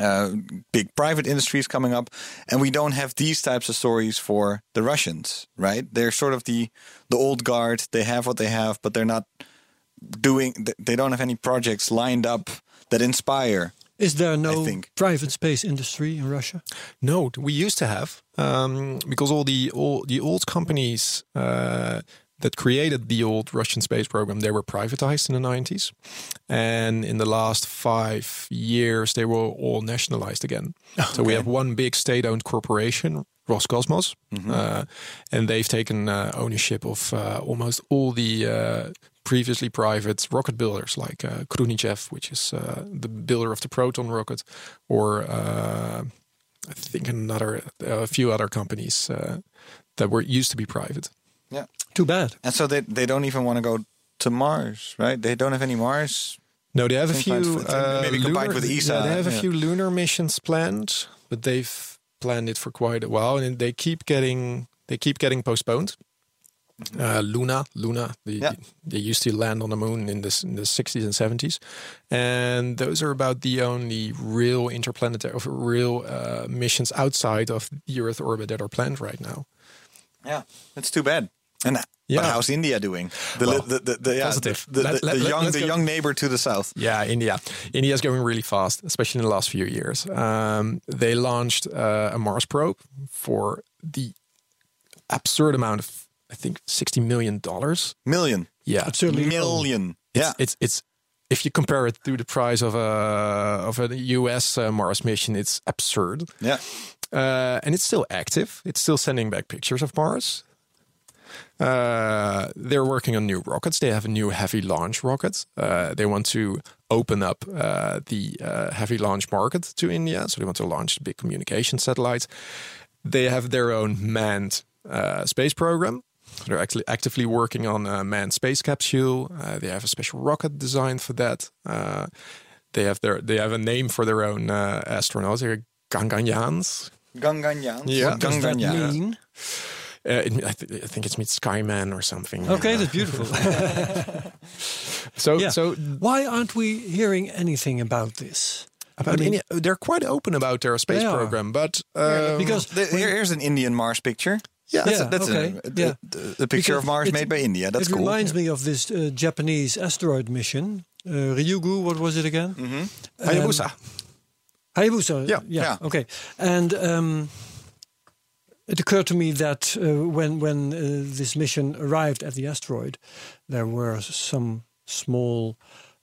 B: uh, big private industries coming up, and we don't have these types of stories for the Russians, right? They're sort of the the old guard. They have what they have, but they're not doing. th- They don't have any projects lined up that inspire.
C: Is there no
B: think.
C: private space industry in Russia?
D: No, we used to have um, because all the all the old companies uh, that created the old Russian space program they were privatized in the nineties, and in the last five years they were all nationalized again. So we have one big state-owned corporation. Roscosmos, uh, and they've taken uh, ownership of uh, almost all the uh, previously private rocket builders like uh, Krunichev, which is uh, the builder of the Proton rocket, or uh, I think another uh, a few other companies uh, that were used to be private.
B: Yeah.
C: Too bad.
B: And so they they don't even want to go to Mars, right? They don't have any Mars.
D: No, they have a
B: Sometimes
D: few
B: it's-
D: uh,
B: maybe combined
D: lunar-
B: with ESA,
D: Yeah, they have a
B: yeah.
D: few lunar missions planned, but they've planned it for quite a while, and they keep getting they keep getting postponed. Uh, Luna, Luna, the,
B: Mm-hmm. Yeah.
D: they used to land on the moon in the s- in the sixties and seventies, and those are about the only real interplanetary, of real uh, missions outside of the Earth orbit that are planned right now.
B: Yeah, that's too bad. And
D: Yeah.
B: but how's India doing? The
D: Well,
B: the, the, the, yeah,
D: positive.
B: the, the,
D: Let- let-
B: the
D: let-
B: young
D: let's
B: the
D: go-
B: young neighbor to the south.
D: Yeah, India. India is going really fast, especially in the last few years. Um, they launched uh, a Mars probe for the absurd amount of, I think, sixty million dollars.
B: Million,
D: Yeah,
C: Absolutely.
B: million.
D: It's,
B: yeah,
D: it's it's if you compare it to the price of a of a U.S. Uh, Mars mission, it's absurd.
B: yeah.
D: Uh, and it's still active. It's still sending back pictures of Mars. Uh, they're working on new rockets. They have a new heavy launch rocket. Uh, they want to open up uh, the uh, heavy launch market to India. So they want to launch big communication satellites. They have their own manned uh, space program. So they're actually actively working on a manned space capsule. Uh, they have a special rocket designed for that. Uh, they have their they have a name for their own uh, astronauts. They're Ganganyans.
B: Ganganyans.
D: Yeah.
B: What
D: Does
C: Does that
B: Ganganyans.
C: mean?
D: Uh, it, I, th- I think it's meets Skyman or something.
C: Okay,
D: Uh,
C: that's beautiful.
D: so
C: yeah.
D: so
C: why aren't we hearing anything about this?
D: about India, they're quite open about their space
C: They are.
D: program, but um,
C: Because
B: The- here- here's an Indian Mars picture.
D: Yeah.
B: that's,
C: Yeah,
B: that's
C: okay,
B: a,
C: yeah.
B: a- a picture
C: Because
B: of Mars
C: it-
B: made by India. That's
C: it
B: cool.
C: reminds me of this uh, Japanese asteroid mission, uh, Ryugu. What was it again? Um,
D: Hayabusa.
C: Hayabusa.
D: Yeah,
C: yeah,
B: yeah.
C: Okay. And um, it occurred to me that uh, when when uh, this mission arrived at the asteroid, there were some small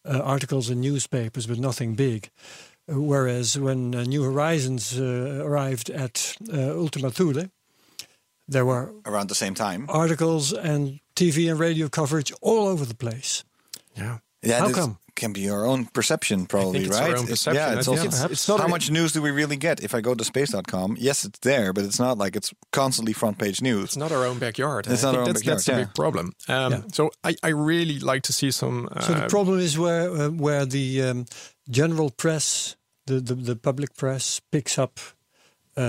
C: uh, articles in newspapers, but nothing big. Uh, Whereas when uh, New Horizons uh, arrived at uh, Ultima Thule, there were
B: around the same time.
C: articles and TV and radio coverage all over the place.
D: yeah.
B: Yeah,
C: How
B: this
C: come?
B: Can be your own perception, probably,
D: it's our
B: right?
D: own
B: It-
D: perception. I
B: Yeah, it's
D: think
B: also
D: it's- it's not
B: how
D: a-
B: much news do we really get? If I go to space.com, yes, it's there, but it's not like it's constantly front page news.
D: It's not our own backyard.
B: It's
D: I
B: not
D: think
B: our own
D: that's, That's
B: backyard,
D: a big problem. Um,
C: Yeah.
D: So I, I really like to see some. Uh,
C: So the problem is where uh, where the um, general press, the, the the public press, picks up uh,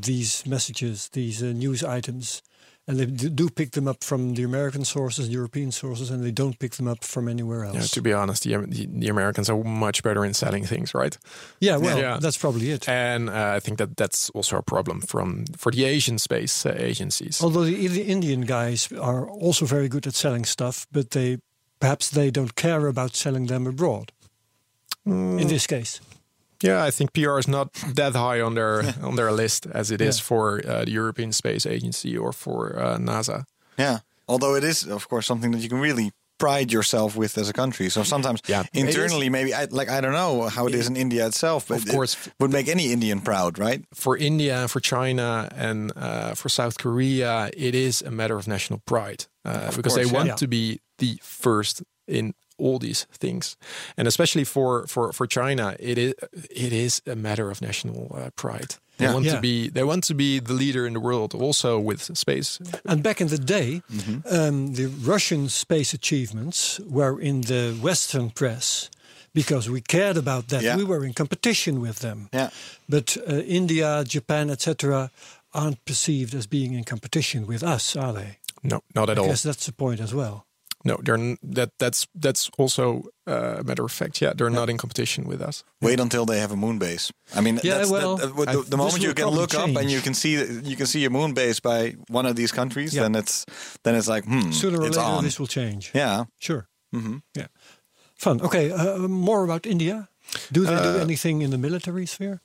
C: these messages, these uh, news items, and they d- do pick them up from the American sources, European sources, and they don't pick them up from anywhere
D: yeah,
C: else.
D: to be honest, the, the, the Americans are much better in selling things, right?
C: Yeah, well,
D: Yeah.
C: that's probably it.
D: And uh, I think that that's also a problem from for the Asian space uh, agencies.
C: Although the I- the Indian guys are also very good at selling stuff, but they
D: Mm.
C: perhaps they don't care about selling them abroad. In this case,
D: Yeah, I think PR is not that high on their on their list as it is for uh, the European Space Agency or for uh, NASA.
B: Yeah. Although it is, of course, something that you can really pride yourself with as a country. So sometimes
D: Yeah. It is-
B: internally, maybe, I, like, I don't know how it is in India itself, but
D: Of
B: it
D: course.
B: would make any Indian proud, right?
D: For India, for China, and uh, for South Korea, it is a matter of national pride uh, because
B: course,
D: they
B: yeah.
D: want
C: Yeah.
D: to be the first in all these things, and especially for for for China, it is it is a matter of national uh, pride. They
B: Yeah.
D: want to
C: Yeah.
D: be they want to be the leader in the world, also with space.
C: And back in the day,
B: Mm-hmm.
C: um, the Russian space achievements were in the Western press because we cared about that.
B: Yeah.
C: We were in competition with them.
B: Yeah.
C: But uh, India, Japan, etc., aren't perceived as being in competition with us, are they?
D: No, not
B: Oh.
D: at all.
C: Yes, that's the point as
B: Mm.
C: well.
D: No, they're n- that that's that's also uh, a matter of fact. Yeah, they're not in competition with us.
B: Wait until they have a moon base. I mean,
C: Yeah,
B: that's,
C: well,
B: that, uh, the,
C: I-
B: the
C: this
B: moment you
C: will
B: can
C: probably
B: look up and
C: change.
B: you can see you can see a moon base by one of these countries,
C: Yeah.
B: then it's then it's like hmm,
C: Sooner or
B: it's
C: later,
B: on.
C: this will change.
B: yeah, Mm-hmm.
C: Sure. Yeah. Fun. Okay. Uh, more about India. Do they
B: Uh,
C: do anything in the military sphere?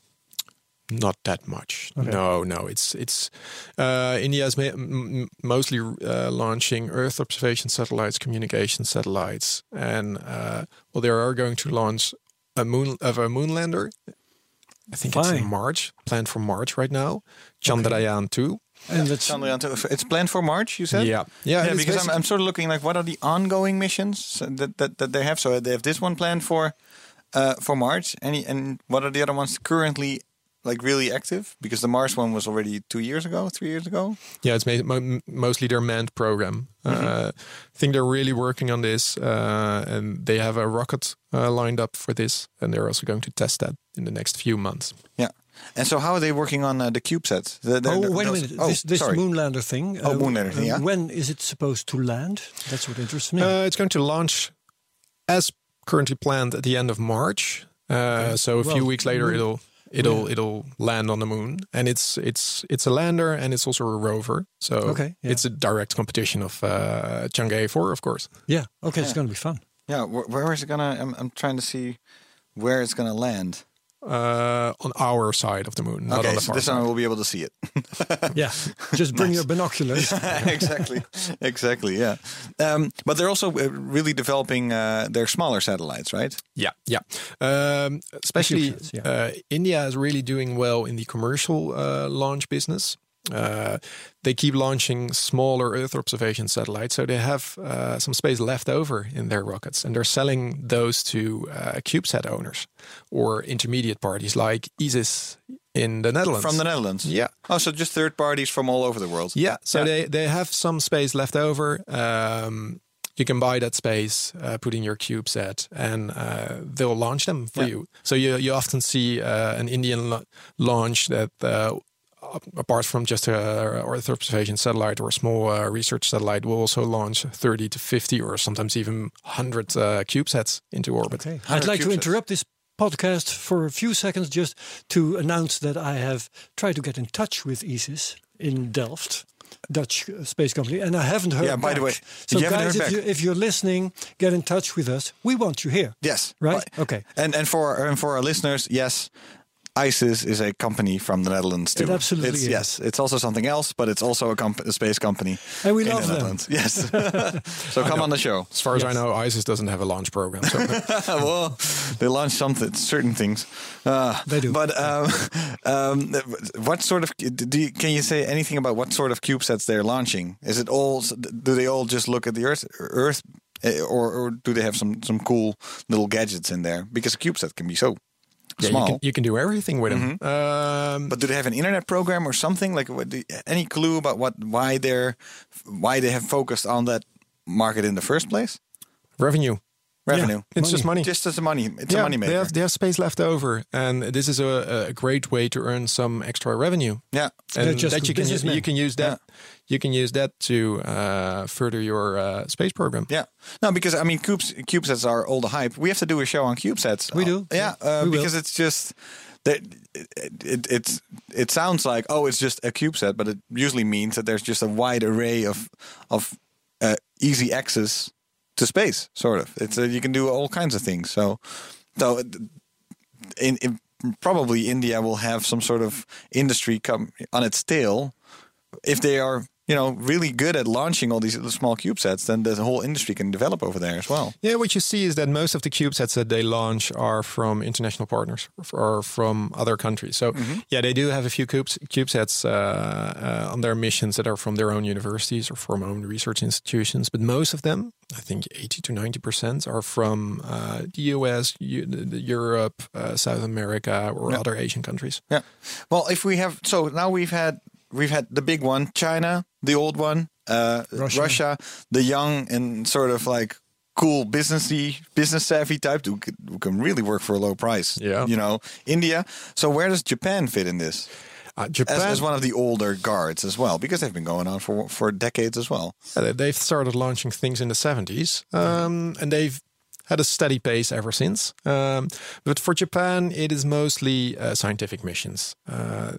D: Not that much. No, no. It's it's uh, India is ma- m- m- mostly uh, launching Earth observation satellites, communication satellites, and uh, well, they are going to launch a moon of a moon lander. I think it's in
C: Fine.
D: March, planned for March right now. Chandrayaan two.
C: And that's
B: Chandrayaan-2, it's planned for March. You said,
D: Yeah. Yeah,
B: yeah.
D: it's
B: Because I'm,
D: basic-
B: I'm sort of looking like what are the ongoing missions that, that, that they have? So they have this one planned for uh, for March, and and what are the other ones currently like really active? Because the Mars one was already two years ago, three years ago.
D: Yeah, it's ma- mo- mostly their manned program. Uh, I think they're really working on this, uh, and they have a rocket uh, lined up for this, and they're also going to test that in the next few months.
B: Yeah. And so how are they working on uh, the CubeSats? The, the,
C: Oh,
B: the-
C: wait a
B: those-
C: minute.
B: Oh,
C: this this
B: sorry.
C: moonlander thing. uh,
B: Oh, moonlander thing, yeah.
C: When is it supposed to land? That's what interests me.
D: Uh, it's going to launch as currently planned at the end of March. Uh, So a few
C: Well,
D: weeks later, it'll it'll it'll land on the moon, and it's it's it's a lander, and it's also a rover. So
C: Okay, yeah.
D: it's a direct competition of uh, Chang'e four, of course.
C: yeah. Okay, it's going to be fun.
B: Yeah, wh- where is it gonna? I'm, I'm trying to see where it's gonna land.
D: Uh, on our side of the moon, not on
B: okay,
D: the
B: so
D: far
B: this
D: side.
B: time we'll be able to see it.
C: Yeah. Just bring your binoculars.
B: exactly, exactly. Yeah, um, but they're also uh, really developing uh, their smaller satellites, right?
D: Yeah, yeah. Um, especially
C: sets, yeah.
D: uh, India is really doing well in the commercial uh, launch business. Uh, they keep launching smaller Earth observation satellites, so they have uh, some space left over in their rockets, and they're selling those to uh, CubeSat owners or intermediate parties like ISIS in the Netherlands.
B: From the Netherlands.
D: Yeah.
B: Oh, so just third parties from all over the world.
D: Yeah, so
B: Yeah.
D: They, they have some space left over. Um, you can buy that space, uh, put in your CubeSat, and uh, they'll launch them for
B: Yeah.
D: you. So you you often see uh, an Indian la- launch that, uh, ap- apart from just a Earth observation satellite or a small uh, research satellite, will also launch 30 to 50 or sometimes even 100 uh, CubeSats into orbit.
C: Okay. I'd like to
B: CubeSats.
C: interrupt this podcast for a few seconds just to announce that I have tried to get in touch with ISIS in Delft. Dutch uh, space company, and I haven't heard.
B: Yeah, by the
C: back.
B: way,
C: so
B: you haven't
C: guys,
B: heard
C: if,
B: back.
C: You, if you're listening, get in touch with us. We want you here.
B: Yes.
C: Right? Okay.
B: And and for and for our listeners, yes, ISIS is a company from the Netherlands too.
C: It absolutely
B: It's-
C: is.
B: Yes, it's also something else, but it's also a, comp- a space company.
C: And we
B: in
C: love
B: the
C: them.
B: Netherlands. Yes. so come on the show.
D: As far as I know, ISIS doesn't have a launch program. So
B: well, they launch something, certain things. Uh,
C: They do.
B: But um, um, what sort of do you, can you say anything about what sort of cubesats they're launching? Is it all? Do they all just look at the Earth? Earth, eh, or, or do they have some some cool little gadgets in there? Because a cubesat can be so
D: yeah, you,
B: small. Mm-hmm.
D: can, you can do everything with them. Um,
B: but do they have an internet program or something? Like, what, do, any clue about what why they're why they have focused on that market in the first place?
D: revenue.
B: Revenue.
D: It's just money.
B: Just as a money, it's a money
D: They have,
B: maker.
D: they have space left over, and this is a, a great way to earn some extra revenue.
B: Yeah.
C: They're
D: And
C: just
D: that you
C: good
D: can
C: businessmen.
D: you can use that you can use that to uh, further your uh, space program.
B: Yeah. No, because I mean, cubes, cubesats are all the hype. We have to do a show on cubesats.
C: We do.
B: Yeah,
C: Yeah,
B: uh,
C: we will.
B: because it's just that it, it it's it sounds like oh, it's just a cubeset, but it usually means that there's just a wide array of of uh, easy access to space. Sort of. It's uh, you can do all kinds of things. So so in, in probably India will have some sort of industry come on its tail if they are. You know, really good at launching all these little small cubesats, then the whole industry can develop over there as well.
D: Yeah, what you see is that most of the CubeSats that they launch are from international partners or from other countries. So,
B: Mm-hmm.
D: yeah, they do have a few cubes, CubeSats uh, uh, on their missions that are from their own universities or from own research institutions. But most of them, I think 80 to 90%, are from uh, the US, U- the- the Europe, uh, South America, or other Asian countries.
B: Yeah. Well, if we have so now we've had we've had the big one, China, the old one, uh, Russia. the young and sort of like cool businessy, business savvy type who can, who can really work for a low price.
D: Yeah.
B: You know, India. So where does Japan fit in this?
D: Uh,
B: As,
D: Japan,
B: as one of the older guards as well, because they've been going on for for decades as well.
D: Yeah, Uh, they- they've started launching things in the 70s, um, and they've had a steady pace ever since. Um, but for Japan, it is mostly uh, scientific missions. Uh,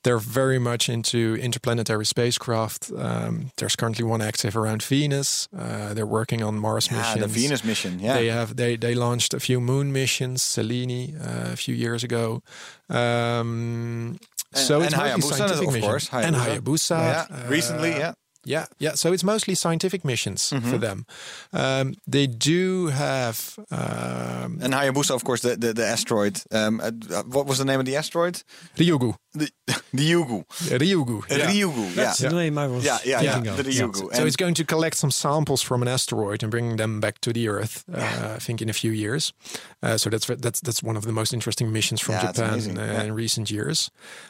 D: they're very much into interplanetary spacecraft. Um, there's currently one active around Venus. Uh, they're working on Mars
B: Ah,
D: missions.
B: the Venus mission. Yeah.
D: They have they they launched a few moon missions, Selene, uh, a few years ago. Um, so
B: and
D: it's mostly
B: Hayabusa,
D: scientific
B: of
D: missions.
B: course,
D: and
B: Hayabusa.
D: Hayabusa.
B: yeah.
D: uh,
B: Recently, yeah. Mm-hmm.
D: yeah, yeah. So it's mostly scientific missions for them. Um, they do have um,
B: And Hayabusa, of course, the the, the asteroid. Um, uh, what was the name of the asteroid?
D: Ryugu.
B: The, the Yugu.
D: Ryugu. Yeah.
B: Ryugu. Yeah.
C: That's the name I was
B: Yeah, yeah, yeah.
C: thinking of.
B: The Ryugu.
D: So it's going to collect some samples from an asteroid and bring them back to the Earth. Uh, I think in a few years. Uh, so that's that's that's one of the most interesting missions from
B: Yeah, it's
D: Japan
B: amazing.
D: uh,
B: Yeah.
D: in recent years.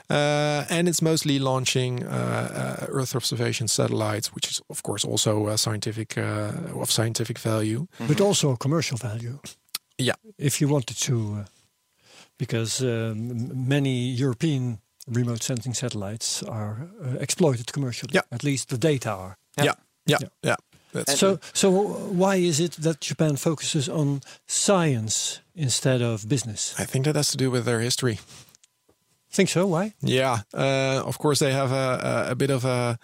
D: Uh, and it's mostly launching uh, uh, Earth observation satellites, which is of course also uh, scientific uh, of scientific value.
C: But also commercial value.
D: Mm-hmm. Yeah.
C: if you wanted to, uh, because um, m- many European remote sensing satellites are uh, exploited commercially.
D: Yeah.
C: At least the data are.
D: Yeah. Yeah. Yeah. That's
C: So, so why is it that Japan focuses on science instead of business?
D: I think that has to do with their history.
C: Think so? Why?
D: Yeah, uh, of course they have a, a, a bit of a.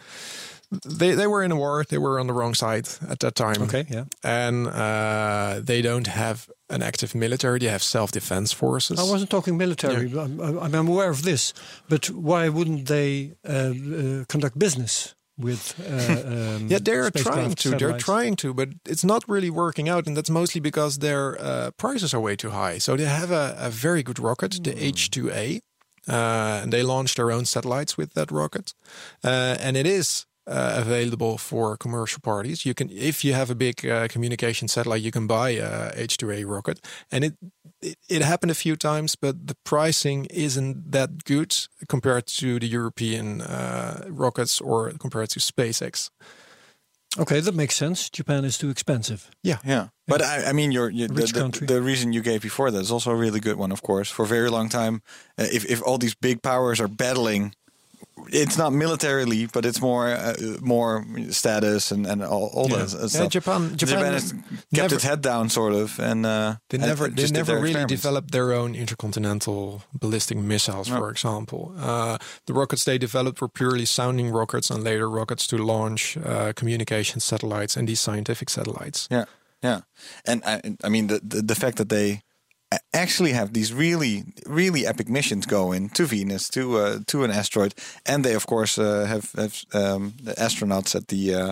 D: They they were in a war. They were on the wrong side at that time.
C: Okay, yeah.
D: and uh, they don't have an active military. They have self defense forces.
C: I wasn't talking military. but I'm, I'm I'm aware of this, but why wouldn't they uh, uh, conduct business with? Uh, um,
D: yeah, they're
C: spacecraft
D: trying to. They're
C: satellites?
D: trying to, but it's not really working out, and that's mostly because their uh, prices are way too high. So they have a, a very good rocket, the
C: Hmm.
D: H2A, uh, and they launched their own satellites with that rocket, uh, and it is. Uh, available for commercial parties. You can, if you have a big uh, communication satellite, you can buy a H2A rocket, and it, it it happened a few times, but the pricing isn't that good compared to the European uh, rockets or compared to SpaceX.
C: Okay, that makes sense. Japan is too expensive.
D: Yeah,
B: Yeah, but I, I mean, your you, the,
C: Rich
B: the-
C: country.
B: the reason you gave before that is also a really good one, of course. For a very long time, uh, if if all these big powers are battling, it's not militarily, but it's more uh, more status and and all, all
D: Yeah.
B: that
D: Yeah,
B: stuff.
D: Japan- Japan
B: has kept
D: never-
B: its head down, sort of, and uh,
D: They
B: and
D: never,
B: just
D: they
B: did their
D: never really
B: experiments.
D: developed their own intercontinental ballistic missiles, for example. Uh, the rockets they developed were purely sounding rockets and later rockets to launch uh, communication satellites and these scientific satellites.
B: Yeah, yeah, and I, I mean the, the the fact that they a- actually have these really really epic missions going to Venus to uh, to an asteroid, and they of course uh, have have um, the astronauts at the uh,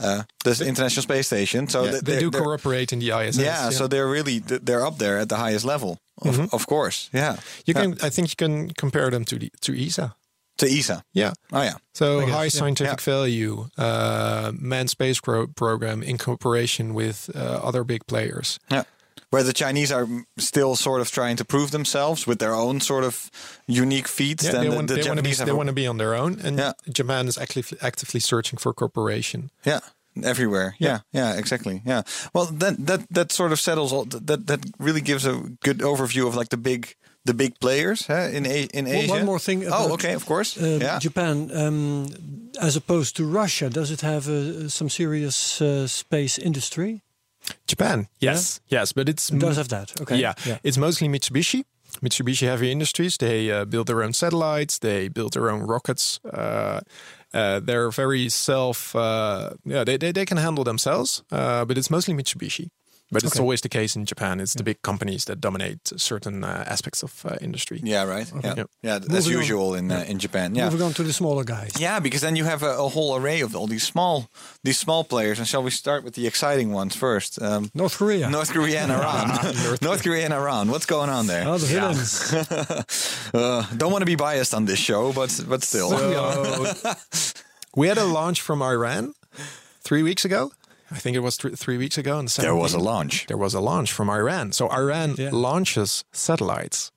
B: uh, the International Space Station. So
D: They,
B: th- they're-
D: do
B: they're-
D: cooperate in the ISS.
B: Yeah, so they're really th- they're up there at the highest level, of,
D: Mm-hmm.
B: of course. Yeah,
D: you
B: Yeah.
D: can, I think, you can compare them to the to ESA.
B: to ESA.
D: Yeah.
B: Oh yeah,
D: So
C: guess,
D: high
C: yeah.
D: scientific value, uh, manned space gro- program in cooperation with uh, other big players.
B: yeah. Where the Chinese are mm, still sort of trying to prove themselves with their own sort of unique feats.
D: Yeah,
B: then
D: they
B: the,
D: want,
B: the
D: they want to be
B: Japanese have
D: they
B: a-
D: want to be on their own, and
B: Yeah.
D: Japan is actively actively searching for cooperation.
B: Yeah, everywhere. Yeah, yeah, exactly. Yeah. Well, that that that sort of settles all. That that really gives a good overview of like the big the big players huh, in A- in
C: One-
B: Asia.
C: One more thing. about,
B: Oh, okay, of course.
C: uh,
B: yeah.
C: Japan, um, as opposed to Russia, does it have uh, some serious uh, space industry?
D: Japan, yes, yes, but it's
C: It does have that. Okay.
D: Mm. yeah, it's mostly Mitsubishi. Mitsubishi Heavy Industries. They uh, build their own satellites. They build their own rockets. Uh, uh, they're very self. Uh, yeah, they, they they can handle themselves. Uh, but it's mostly Mitsubishi. But it's always the case in Japan. It's the big companies that dominate certain uh, aspects of uh, industry.
B: Yeah, right. Yeah,
D: Yep.
B: yeah. th- That's
C: Moving on.
B: usual in uh, in Japan. Yeah,
C: Moving on to the smaller guys.
B: yeah. Because then you have a, a whole array of all these small these small players. And shall we start with the exciting ones first? Um,
C: North Korea.
B: North Korea and Iran. North Korea and Iran. What's going on there?
C: Ah, the villains.
B: Uh, don't want to be biased on this show, but but still.
D: So, we had a launch from Iran three weeks ago. I think it was three, three weeks ago. On the
B: There was a
D: 17th.
B: launch.
D: There was a launch from Iran. So Iran
C: Yeah.
D: launches satellites,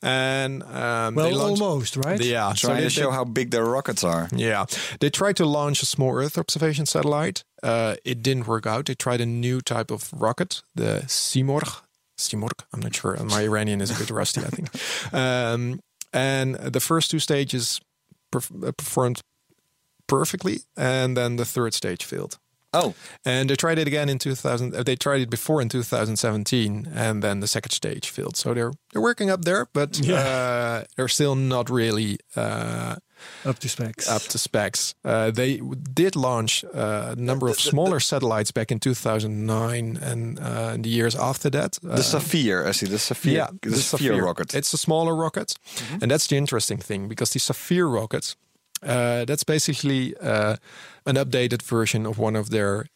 D: and um,
C: Well,
D: they launch-
C: almost, right?
D: Yeah, so
B: Trying
D: they-
B: to show
D: they-
B: how big their rockets are.
D: Yeah, they tried to launch a small Earth observation satellite. Uh, it didn't work out. They tried a new type of rocket, the Simorgh. Simorgh. I'm not sure. My Iranian is a bit rusty, I think. Um, and the first two stages perf- uh, performed perfectly, and then the third stage failed.
B: Oh,
D: And they tried it again in 2000. uh, They tried it before in 2017, and then the second stage failed. So they're they're working up there, but uh, they're still not really uh,
C: Up to specs.
D: up to specs. Uh, they w- did launch uh, a number of smaller satellites back in 2009 and uh, in the years after that. Uh,
B: the Saphir. I see the Saphir.
D: yeah,
B: the, Saphir, Mm-hmm. rocket.
D: It's a smaller rocket, and that's the interesting thing because the Saphir rocket, uh, that's basically uh, an updated version of one of their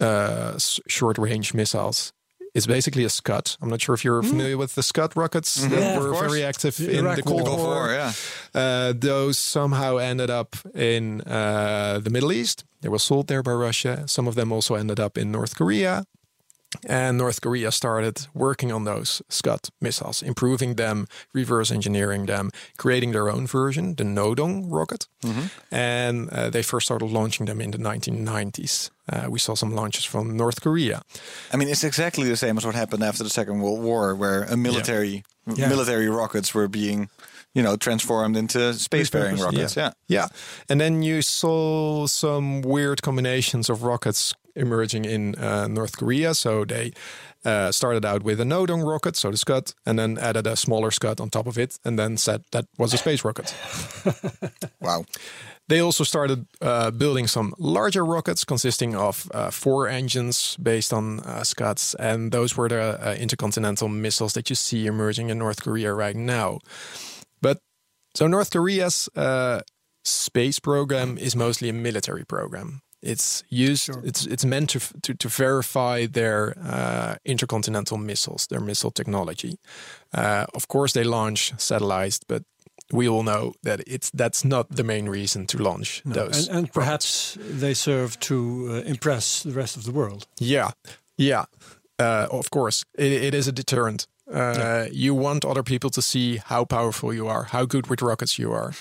D: uh, s- short-range missiles. It's basically a Scud. I'm not sure if you're familiar with the Scud rockets
B: Mm.
D: that
B: Mm-hmm. Yeah, of
D: were
B: course.
D: very active
C: The
D: in
C: Iraq
D: the Cold
C: War.
B: Gulf
D: War.
B: War, yeah.
D: Uh, those somehow ended up in uh, the Middle East. They were sold there by Russia. Some of them also ended up in North Korea. And North Korea started working on those Scud missiles, improving them, reverse engineering them, creating their own version, the Nodong rocket. And uh, they first started launching them in the 1990s. Uh, we saw some launches from North Korea.
B: I mean, it's exactly the same as what happened after the Second World War, where a military
C: Yeah.
B: military rockets were being, you know, transformed into spacefaring
C: Repurposed,
B: rockets. Yeah.
D: Yeah. And then you saw some weird combinations of rockets emerging in uh, North Korea. So they uh, started out with a Nodong rocket, so the Scud, and then added a smaller Scud on top of it, and then said that was a space rocket.
B: Wow.
D: They also started uh, building some larger rockets consisting of uh, four engines based on uh, Scuds, and those were the uh, intercontinental missiles that you see emerging in North Korea right now. But so North Korea's uh, space program is mostly a military program. It's used. It's it's meant to f- to, to verify their uh, intercontinental missiles, their missile technology. Uh, of course, they launch satellites, but we all know that it's that's not the main reason to launch those.
C: and, and perhaps they serve to uh, impress the rest of the world.
D: Yeah, yeah. Uh, of course, it, it is a deterrent. Uh, You want other people to see how powerful you are, how good with rockets you are.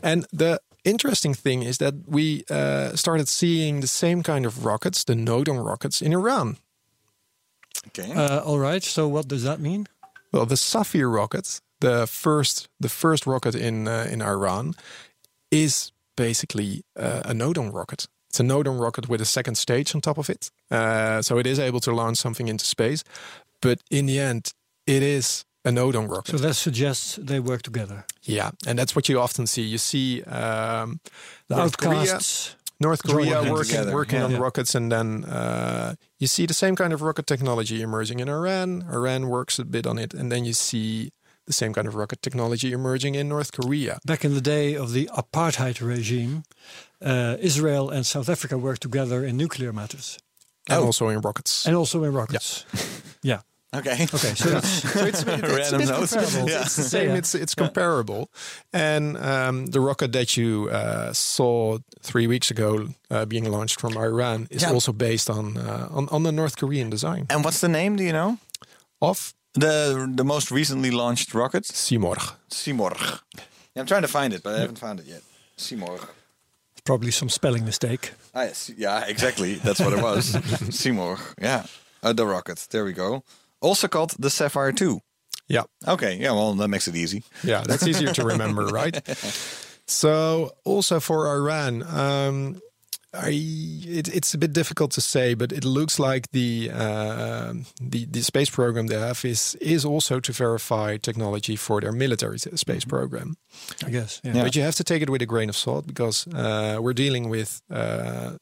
D: And the interesting thing is that we uh, started seeing the same kind of rockets, the Nodon rockets, in Iran.
B: Okay.
C: Uh, all right. So what does that mean?
D: Well, the Safir rocket, the first, the first rocket in uh, in Iran, is basically uh, a Nodon rocket. It's a Nodon rocket with a second stage on top of it, uh, so it is able to launch something into space. But in the end, it is a Nodon rocket.
C: So that suggests they work together.
D: yeah, and that's what you often see. You see um,
C: The
D: North Korea,
C: outcasts.
D: North
C: Join
D: Korea
C: hands
D: working
B: together.
D: working
B: Yeah.
D: on
C: Yeah.
D: rockets, and then uh, you see the same kind of rocket technology emerging in Iran. Iran works a bit on it, and then you see the same kind of rocket technology emerging in North Korea.
C: Back in the day of the apartheid regime, uh, Israel and South Africa worked together in nuclear matters
D: And also in rockets.
C: and also in rockets. Yeah.
B: okay.
C: Okay. So that's
D: so it's, it's, it's,
B: Random
D: it's
B: notes.
D: comparable.
B: Yeah.
D: It's the same.
C: Yeah.
D: It's it's comparable. And um, the rocket that you uh, saw three weeks ago uh, being launched from Iran is
B: Yeah.
D: also based on, uh, on on the North Korean design
B: And what's the name? Do you know?
D: of
B: The the most recently launched rocket,
D: Simorgh.
B: Simorgh. Yeah, I'm trying to find it, but I haven't found it yet. Simorgh.
C: probably some spelling mistake.
B: Ah, yes. Yeah, exactly. That's what it was. Simorgh. Yeah. Uh, the rocket. There we go. Also called the Sapphire 2.
D: Yeah.
B: Okay. Yeah, well, that makes it easy.
D: Yeah, that's easier to remember, right? So, also for Iran, um, I it, it's a bit difficult to say, but it looks like the uh, the the space program they have is is also to verify technology for their military s- space program.
C: I guess. Mm-hmm. Yeah.
D: But you have to take it with a grain of salt because uh, we're dealing with uh,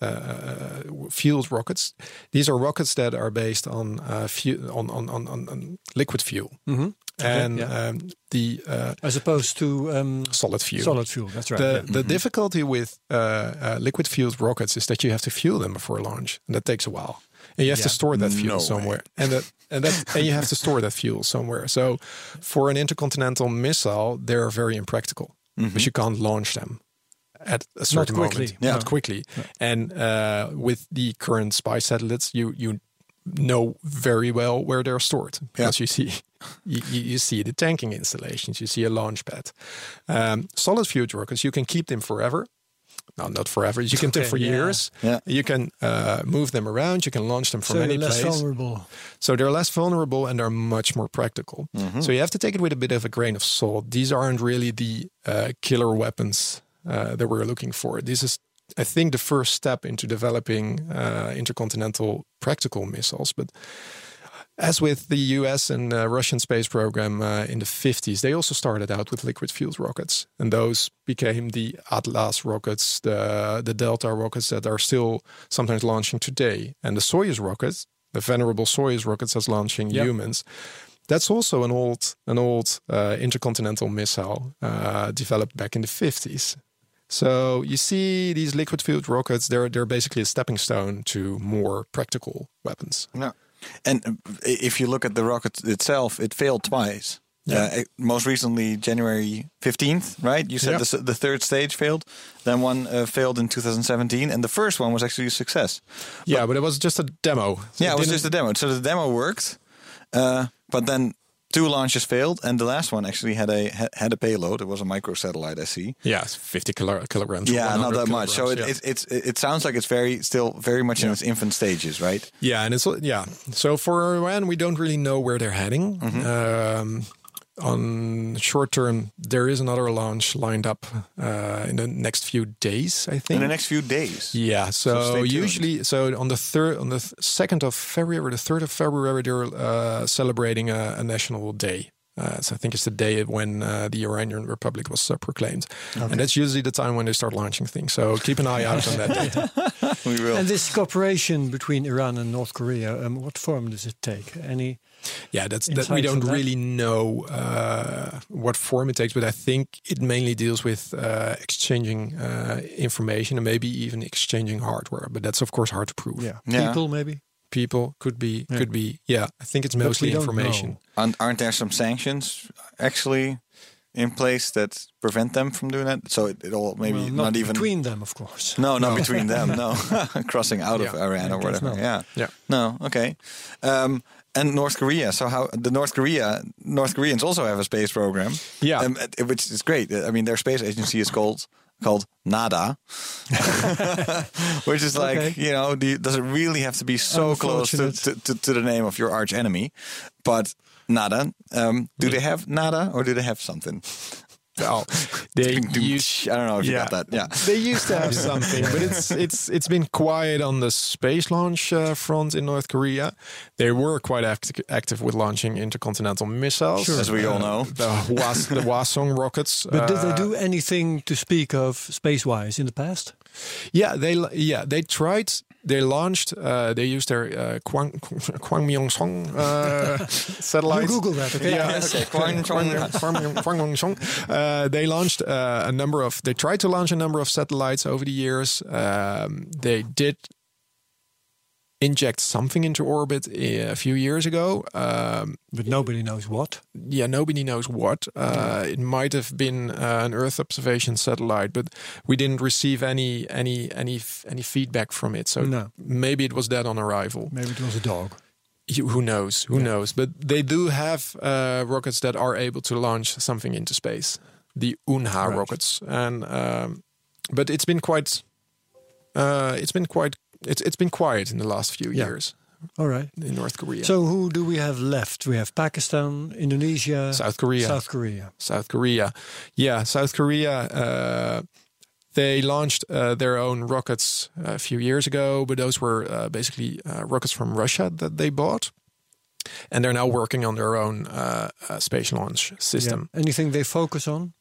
D: uh, fueled rockets. These are rockets that are based on uh, fu- on, on, on, on on liquid fuel and
C: Mm-hmm. yeah.
D: um, the uh,
C: as opposed to um,
D: solid fuel.
C: solid fuel. That's right.
D: The,
C: yeah.
D: the difficulty with uh, uh, liquid fueled rockets is that you have to fuel them before launch, and that takes a while. And you have to store that fuel
B: No way.
D: somewhere, and that and that and you have to store that fuel somewhere. So, for an intercontinental missile, they're very impractical, but you can't launch them at a certain
C: quickly,
D: moment, not quickly. And uh, with the current spy satellites, you you know very well where they're stored because you see you, you you see the tanking installations, you see a launch pad. Um, solid fuel rockets, you can keep them forever. No, not forever. You can keep them
C: Okay,
D: for
C: yeah.
D: years.
B: Yeah.
D: You can uh, move them around. You can launch them from
C: so
D: any
C: you're less
D: place.
C: vulnerable.
D: So they're less vulnerable and are much more practical. So you have to take it with a bit of a grain of salt. These aren't really the uh, killer weapons uh, that we're looking for. This is, I think, the first step into developing uh, intercontinental practical missiles. But as with the US and uh, Russian space program uh, in the 50s, they also started out with liquid fueled rockets. And those became the Atlas rockets, the, the Delta rockets that are still sometimes launching today. And the Soyuz rockets, the venerable Soyuz rockets that's launching humans. That's also an old, an old uh, intercontinental missile uh, developed back in the 50s. So you see these liquid fueled rockets, they're, they're basically a stepping stone to more practical weapons.
B: No. And uh, i- if you look at the rocket itself, it failed twice. Uh, it- most recently, January 15th, right? You said
D: Yeah.
B: the, s- the third stage failed. Then one uh, failed in 2017. And the first one was actually a success.
D: Yeah, but it was just a demo. So
B: yeah, it was
D: didn't-
B: just a demo. So the demo worked. Uh, but then two launches failed. And the last one actually had a ha- had a payload. It was a microsatellite, I see.
D: yeah, it's fifty kilo- kilograms.
B: Yeah,
D: 100
B: not that much. So it,
D: kilograms,
B: it, it's, it, it sounds like it's very still very much in its infant stages, right?
D: yeah. yeah, and it's yeah. So for Iran, we don't really know where they're heading.
B: Mm-hmm.
D: Um, on short term, there is another launch lined up uh, in the next few days, I think.
B: In the next few days.
D: Yeah, so,
B: stay tuned.
D: usually, so on the third, on the second of February or the third of February, they're uh, celebrating a, a national day. Uh, so I think it's the day when uh, the Iranian Republic was uh, proclaimed, and that's usually the time when they start launching things. So keep an eye out on that date.
B: We will.
C: And this cooperation between Iran and North Korea, um, what form does it take? Any?
D: Yeah, that's that. We
C: Insights on
D: don't
C: that?
D: really know uh, what form it takes, but I think it mainly deals with uh, exchanging uh, information and maybe even exchanging hardware. But that's of course hard to prove.
C: Yeah.
B: Yeah.
C: People maybe.
D: people could be could be yeah i think it's
C: we
D: mostly
C: don't
D: information
C: know.
B: Aren't, aren't there some sanctions actually in place that prevent them from doing that? So it, it all maybe
C: Well,
B: not,
C: not,
B: even
C: between them, of course.
B: no, not between them. No, crossing out of
D: Yeah,
B: Iran or whatever.
C: not.
B: Yeah,
D: Yeah.
B: No, okay. Um, and North Korea. So how the North Korea North Koreans also have a space program.
D: Yeah.
B: um, it- which is great. I mean, their space agency is called called NADA, which is like
C: Okay.
B: you know, do you- does it really have to be so close to, to,
C: Unfortunate.
B: to, to the name of your arch enemy? But NADA. Um, do they have NADA or do they have something?
D: oh they
B: Ding, ding,
D: used
B: tsh. I don't know if you got that. Yeah.
D: they used to have something but it's it's it's been quiet on the space launch uh, front in north korea they were quite act- active with launching intercontinental missiles Uh,
B: As we all know.
D: the was the wasong rockets
C: But did
D: uh,
C: they do anything to speak of space-wise in the past?
D: Yeah, they yeah they tried. They launched. Uh, they used their uh, Kwang Kwangmyongsong uh, satellite.
C: You Google that, okay?
D: Yeah,
C: Yes.
B: Okay, Kwang- Kwang-
D: Kwangmyongsong. Uh, they launched uh, a number of. They tried to launch a number of satellites over the years. Um, they did inject something into orbit uh, a few years ago. Um,
C: But nobody knows what.
D: yeah, nobody knows what. Uh, it might have been uh, an Earth observation satellite, but we didn't receive any any any f- any feedback from it. So
C: No.
D: maybe it was dead on arrival.
C: Maybe it was a dog.
D: You- who knows? Who knows? But they do have uh, rockets that are able to launch something into space, the Unha rockets, and um, but it's been quite uh, it's been quite it's it's been quiet in the last few
C: Yeah.
D: years
C: All right.
D: in North Korea.
C: So who do we have left? We have Pakistan, Indonesia,
D: South Korea.
C: South Korea.
D: South Korea. Yeah, South Korea. Uh, they launched uh, their own rockets uh, a few years ago, but those were uh, basically uh, rockets from Russia that they bought, and they're now working on their own uh, uh, space launch
C: Yeah.
D: system.
C: Anything they focus on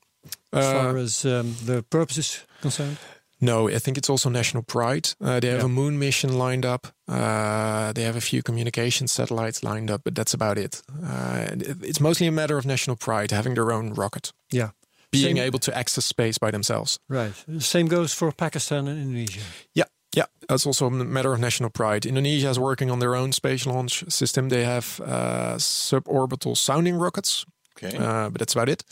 C: as
D: Uh,
C: far as um, the purpose is concerned?
D: No, I think it's also national pride. Uh, they have a moon mission lined up. Uh, they have a few communication satellites lined up, but that's about it. Uh, it- it's mostly a matter of national pride, having their own rocket,
C: Yeah.
D: being
C: Same-
D: able to access space by themselves.
C: Right. Same goes for Pakistan and Indonesia.
D: Yeah, yeah, that's also a matter of national pride. Indonesia is working on their own space launch system. They have uh, suborbital sounding rockets,
B: Okay.
D: uh, but that's about it.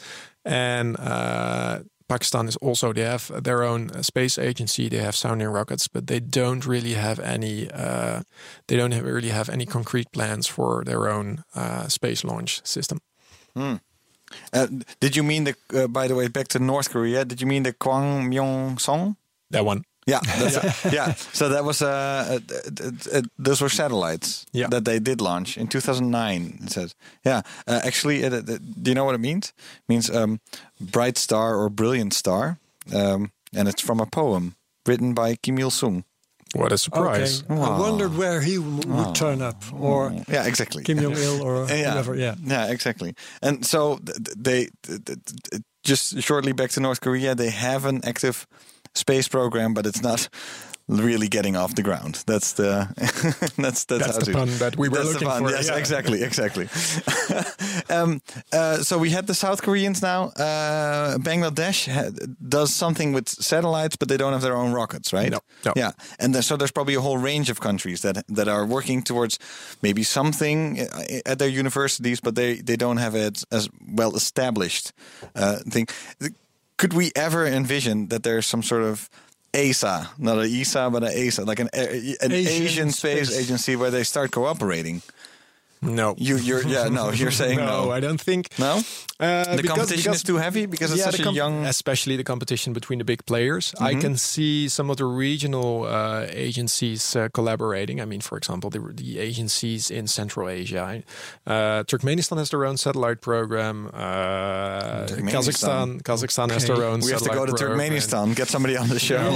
D: And uh, Pakistan is also they have their own uh, space agency. They have sounding rockets, but they don't really have any. Uh, they don't have, really have any concrete plans for their own uh, space launch system.
B: Uh, did you mean the? Uh, by the way, back to North Korea. Did you mean the Kwangmyong song?
D: That one.
B: Yeah, that's yeah. So that was uh, uh, uh, uh, those were satellites
D: Yeah.
B: that they did launch in 2009. It says, yeah, uh, actually, it, it- it- do you know what it means? It means um, bright star or brilliant star, um, and it's from a poem written by Kim Il Sung.
D: What a surprise!
C: Okay. I wondered where he w- would turn up or
B: Yeah, exactly.
C: Kim Jong Il or
B: yeah.
C: whoever. Yeah.
B: Yeah, exactly. And so th- th- they th- th- th- just shortly back to North Korea, they have an active space program, but it's not really getting off the ground. That's the that's that's, how
D: the
B: to-
D: pun that we were
B: that's the
D: looking
B: pun.
D: for,
B: Yes,
D: yeah.
B: exactly, exactly. um, uh, so we had the South Koreans now. Uh, Bangladesh ha- does something with satellites, but they don't have their own rockets, right?
D: No, no.
B: Yeah, and there, so there's probably a whole range of countries that that are working towards maybe something uh, at their universities, but they they don't have it as well established uh, thing. Could we ever envision that there's some sort of ESA, not an ESA, but an ESA, like an a- an Asian,
C: Asian
B: space,
C: space.
B: agency, where they start cooperating?
D: No,
B: You, you're yeah, no, you're saying no.
D: no, I don't think.
B: No?
D: Uh,
B: the competition is too heavy because it's
D: Yeah,
B: such
D: the
B: a
D: com-
B: young. Mm-hmm.
D: especially the competition between the big players. I can see some of the regional uh, agencies uh, collaborating. I mean, for example, the, the agencies in Central Asia. Uh, Turkmenistan has their own satellite program. Uh,
B: Turkmenistan.
D: Kazakhstan, Kazakhstan has their
C: Okay.
D: own.
B: we have to go
D: satellite
B: to
D: program.
B: Turkmenistan, get somebody on the show.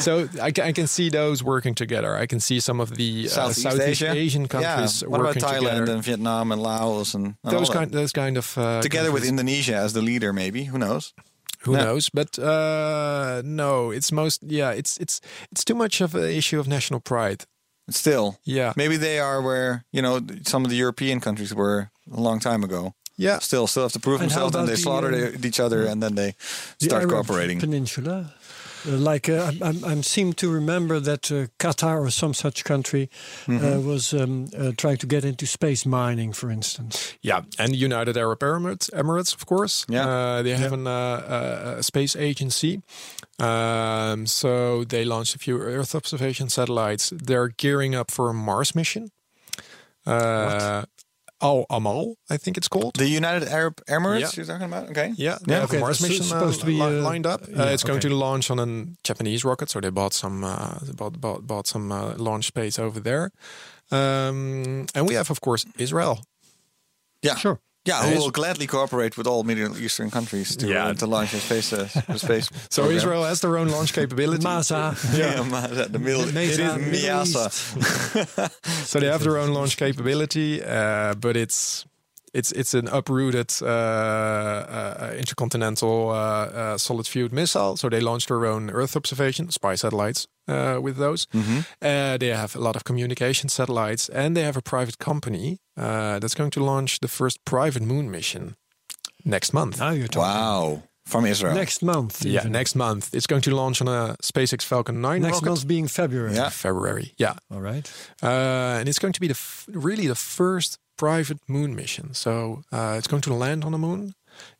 D: So I can, I can see those working together. I can see some of the uh,
B: Southeast, Asia.
D: Asian countries
B: Yeah. What about
D: working
B: Thailand
D: together.
B: and Vietnam and Laos and, and
D: those
B: all that?
D: kind, those kind of uh,
B: together with
D: countries.
B: Indonesia as the leader, maybe who knows?
D: who
B: No.
D: knows but uh no it's most yeah it's it's it's too much of an issue of national pride
B: Still,
D: Yeah.
B: maybe they are where you know some of the European countries were a long time ago.
D: Yeah.
B: still, still have to prove
C: And how
B: themselves, and they
C: about the,
B: slaughtered e-,
C: uh,
B: each other, and then they
C: The
B: start
C: Arab
B: cooperating.
C: Peninsula. Uh, like uh, I, I, I seem to remember that uh, Qatar or some such country uh, was um, uh, trying to get into space mining, for instance.
D: yeah and united arab emirates emirates of course
B: Yeah.
D: uh, they have an uh, a space agency um so they launched a few earth observation satellites they're gearing up for a mars mission uh al amal i think it's called
B: The United Arab Emirates, you're
D: Yeah.
B: talking about? Okay.
D: Yeah, they
B: Yeah.
D: have
C: Okay,
D: a Mars
C: so it's
D: mission uh,
C: supposed to be,
D: li-
C: uh,
D: lined up.
C: yeah,
D: uh, it's going
C: okay.
D: to launch on a Japanese rocket, so they bought some uh, they bought, bought bought some uh, launch space over there. Um, and we have, of course, Israel.
B: Yeah.
C: Sure.
B: Yeah, who
D: Is-
B: will gladly cooperate with all Middle Eastern countries to,
D: Yeah.
B: uh, to launch a space, uh, a space
D: So
B: program.
D: Israel has their own launch capability.
C: Masa.
B: Yeah, Masa, the Middle,
C: Mesa, Middle
B: Miasa.
D: so they have their own launch capability, uh, but it's. It's it's an uprooted uh, uh, intercontinental uh, uh, solid fueled missile. So they launched their own Earth observation spy satellites uh, with those.
C: Mm-hmm.
D: Uh, they have a lot of communication satellites, and they have a private company uh, that's going to launch the first private moon mission next month.
C: Now you're talking.
B: Wow, from Israel.
C: Next month.
D: Yeah,
C: even.
D: next month it's going to launch on a SpaceX Falcon 9
C: Next
D: rocket.
C: month being February.
B: Yeah.
D: February. Yeah,
C: All right.
D: uh, and it's going to be the f- really the first private moon mission. So uh, it's going to land on the moon.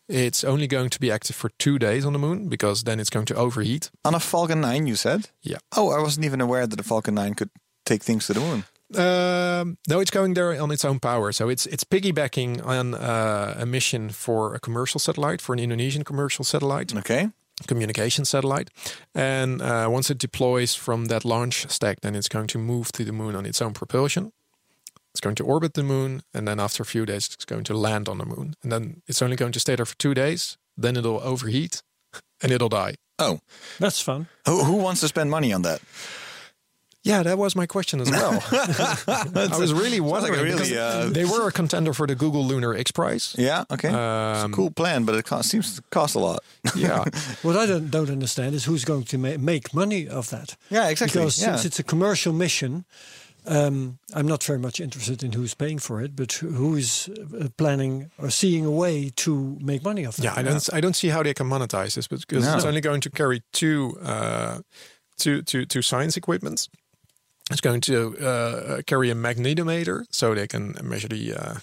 D: It's only going to be active for two days on the moon because then it's going to overheat.
B: On a Falcon 9, you said?
D: Yeah.
B: Oh, I wasn't even aware that the Falcon 9 could take things to the moon.
D: Um, no, it's going there on its own power. So it's it's piggybacking on uh, a mission for a commercial satellite, for an Indonesian commercial satellite,
B: Okay.
D: communication satellite. And uh, once it deploys from that launch stack, then it's going to move to the moon on its own propulsion. It's going to orbit the moon, and then after a few days, it's going to land on the moon. And then it's only going to stay there for two days. Then it'll overheat, and it'll die.
B: Oh,
C: That's fun.
B: who, who wants to spend money on that?
D: Yeah, that was my question as well. I was really wondering.
B: like a
D: because
B: really, uh,
D: They were a contender for the Google Lunar X Prize.
B: Yeah, okay. it's a cool plan, but it co- seems to cost a lot.
D: Yeah.
C: What I don't, don't understand is who's going to ma- make money of that.
B: Yeah, exactly,
C: Because
B: yeah.
C: since it's a commercial mission, um, I'm not very much interested in who's paying for it, but who is uh, planning or seeing a way to make money of that.
D: Yeah, I don't. I don't see how they can monetize this because because it's
B: No.
D: only going to carry two, uh, two, two, two science equipments. It's going to uh, carry a magnetometer, so they can measure the uh,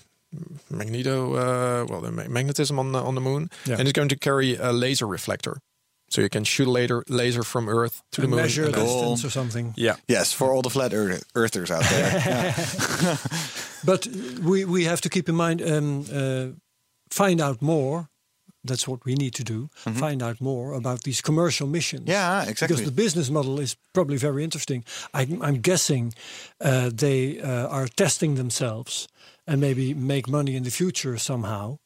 D: magneto, uh, well, the ma- magnetism on the, on the moon,
C: Yeah.
D: and it's going to carry a laser reflector, so you can shoot a laser laser from Earth to the moon.
C: measure
D: and then-
C: distance or something.
D: yeah,
B: Yes, for all the flat earth- earthers out there.
C: But we, we have to keep in mind, um, uh, find out more. That's what we need to do. Find out more about these commercial missions.
B: Mm-hmm. yeah, exactly.
C: Because the business model is probably very interesting. I, I'm guessing uh, they uh, are testing themselves and maybe make money in the future somehow.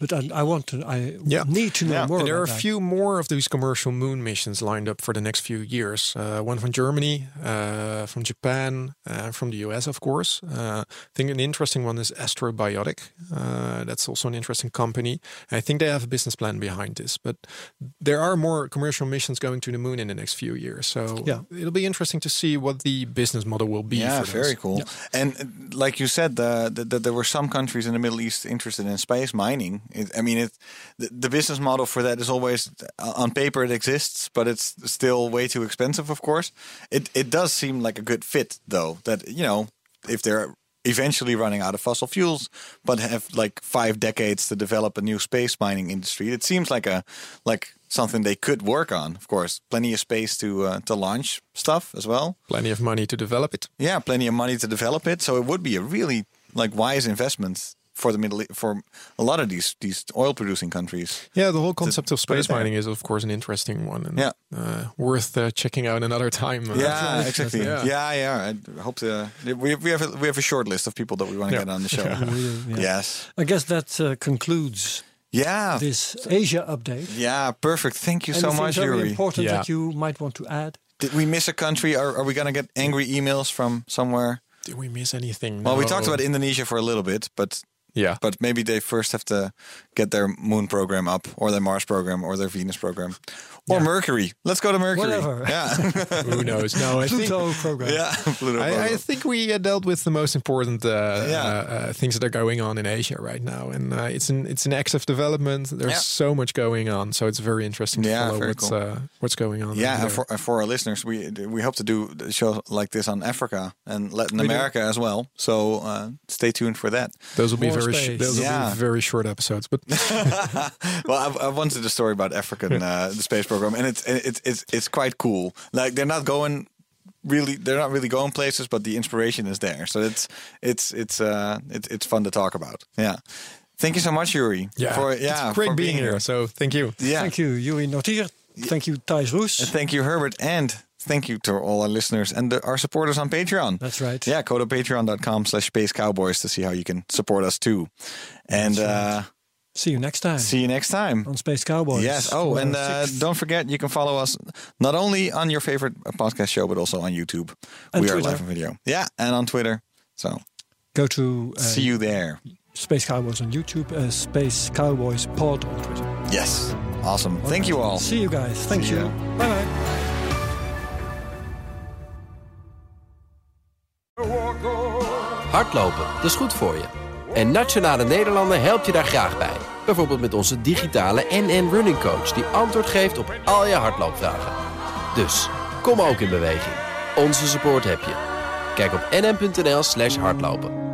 C: But I, I want to, I
D: Yeah.
C: need to know
B: Yeah.
C: more.
D: And Uh, there are a
C: about that.
D: few more of these commercial moon missions lined up for the next few years. Uh, one from Germany, uh, from Japan, uh, from the US, of course. Uh, I think an interesting one is Astrobiotic. Uh, that's also an interesting company. I think they have a business plan behind this, but there are more commercial missions going to the moon in the next few years. So
C: Yeah.
D: it'll be interesting to see what the business model will be.
B: yeah,
D: for
B: very
D: this.
B: cool. And uh, like you said, the, the, the, there were some countries in the Middle East interested in space mining. It, I mean, it, the, the business model for that is always uh, on paper it exists, but it's still way too expensive. Of course, it it does seem like a good fit though. That you know, if they're eventually running out of fossil fuels, but have like five decades to develop a new space mining industry, it seems like a like something they could work on. Of course, plenty of space to uh, to launch stuff as well
D: Plenty of money to develop it.
B: yeah, plenty of money to develop it. So it would be a really like wise investment for the Middle E- for a lot of these these oil producing countries.
D: Yeah, the whole concept of
B: it
D: space
B: there.
D: mining is, of course, an interesting one and
B: Yeah.
D: uh, worth uh, checking out another time. uh,
B: Yeah, exactly.
D: Yeah.
B: Yeah, yeah. I hope to, we we have a, we have a short list of people that we want to
D: Yeah.
B: get on the show.
C: yeah.
B: Yes.
C: I guess that uh, concludes
B: Yeah.
C: this Asia update.
B: Yeah. Perfect. Thank Ah. you so
C: Anything
B: much,
C: very
B: Yuri.
C: important
D: Yeah.
C: that you might want to add?
B: Did we miss a country? Are, are we gonna get angry emails from somewhere?
D: Did we miss anything?
B: Well, we
D: No.
B: talked about Indonesia for a little bit, but
D: Yeah.
B: but maybe they first have to get their moon program up or their mars program or their venus program or mercury let's go to mercury
C: Whatever.
B: yeah
D: Who knows? No, I think.
C: Pluto program.
B: yeah Pluto
D: I, I
B: program.
D: think we uh, dealt with the most important uh,
B: Yeah.
D: uh, uh, things that are going on in Asia right now, and uh, it's an it's an active development. There's
B: Yeah.
D: so much going on, so it's very interesting to
B: Yeah,
D: follow
B: very
D: what's
B: cool.
D: uh, what's going on.
B: yeah,
D: there.
B: and for, and for our listeners, we we hope to do a show like this on Africa and Latin
D: do.
B: America as well. So uh, stay tuned for that.
D: those will be
C: More
D: very
C: space.
D: sh- those will
B: Yeah.
D: be very short episodes, but
B: well, I've, I've once did a story about African uh, the space program, and it's it's it's it's quite cool. Like they're not going really, they're not really going places, but the inspiration is there. So it's it's it's uh it's it's fun to talk about. Yeah, thank you so much, Yuri.
D: yeah,
B: for,
D: it's
B: yeah,
D: great
B: for
D: being, here. So thank you.
B: Yeah,
C: Thank you, Yuri Notier. Thank you, Thijs Roes.
B: And thank you, Herbert, and thank you to all our listeners and the, our supporters on Patreon.
C: That's right.
B: Yeah, go to patreon.com slash space cowboys to see how you can support us too. And uh,
C: See you next time
B: see you next time.
C: on Space Cowboys.
B: Yes. Oh,
C: Well,
B: and uh,
C: sixth.
B: don't forget, you can follow us not only on your favorite uh, podcast show, but also on YouTube.
C: And
B: we
C: Twitter.
B: are live on video. Yeah, and on Twitter. So
C: go to uh,
B: see you there.
C: Space Cowboys on YouTube, uh, Space Cowboys Pod on Twitter.
B: Yes. Awesome. Thank you all.
C: See you guys. Thank
B: See
C: you.
B: ya.
C: Bye bye.
E: Hardlopen, dat is goed voor je. En Nationale Nederlanden helpt je daar graag bij. Bijvoorbeeld met onze digitale NN Running Coach... die antwoord geeft op al je hardloopvragen. Dus, kom ook in beweging. Onze support heb je. Kijk op nn.nl slash hardlopen.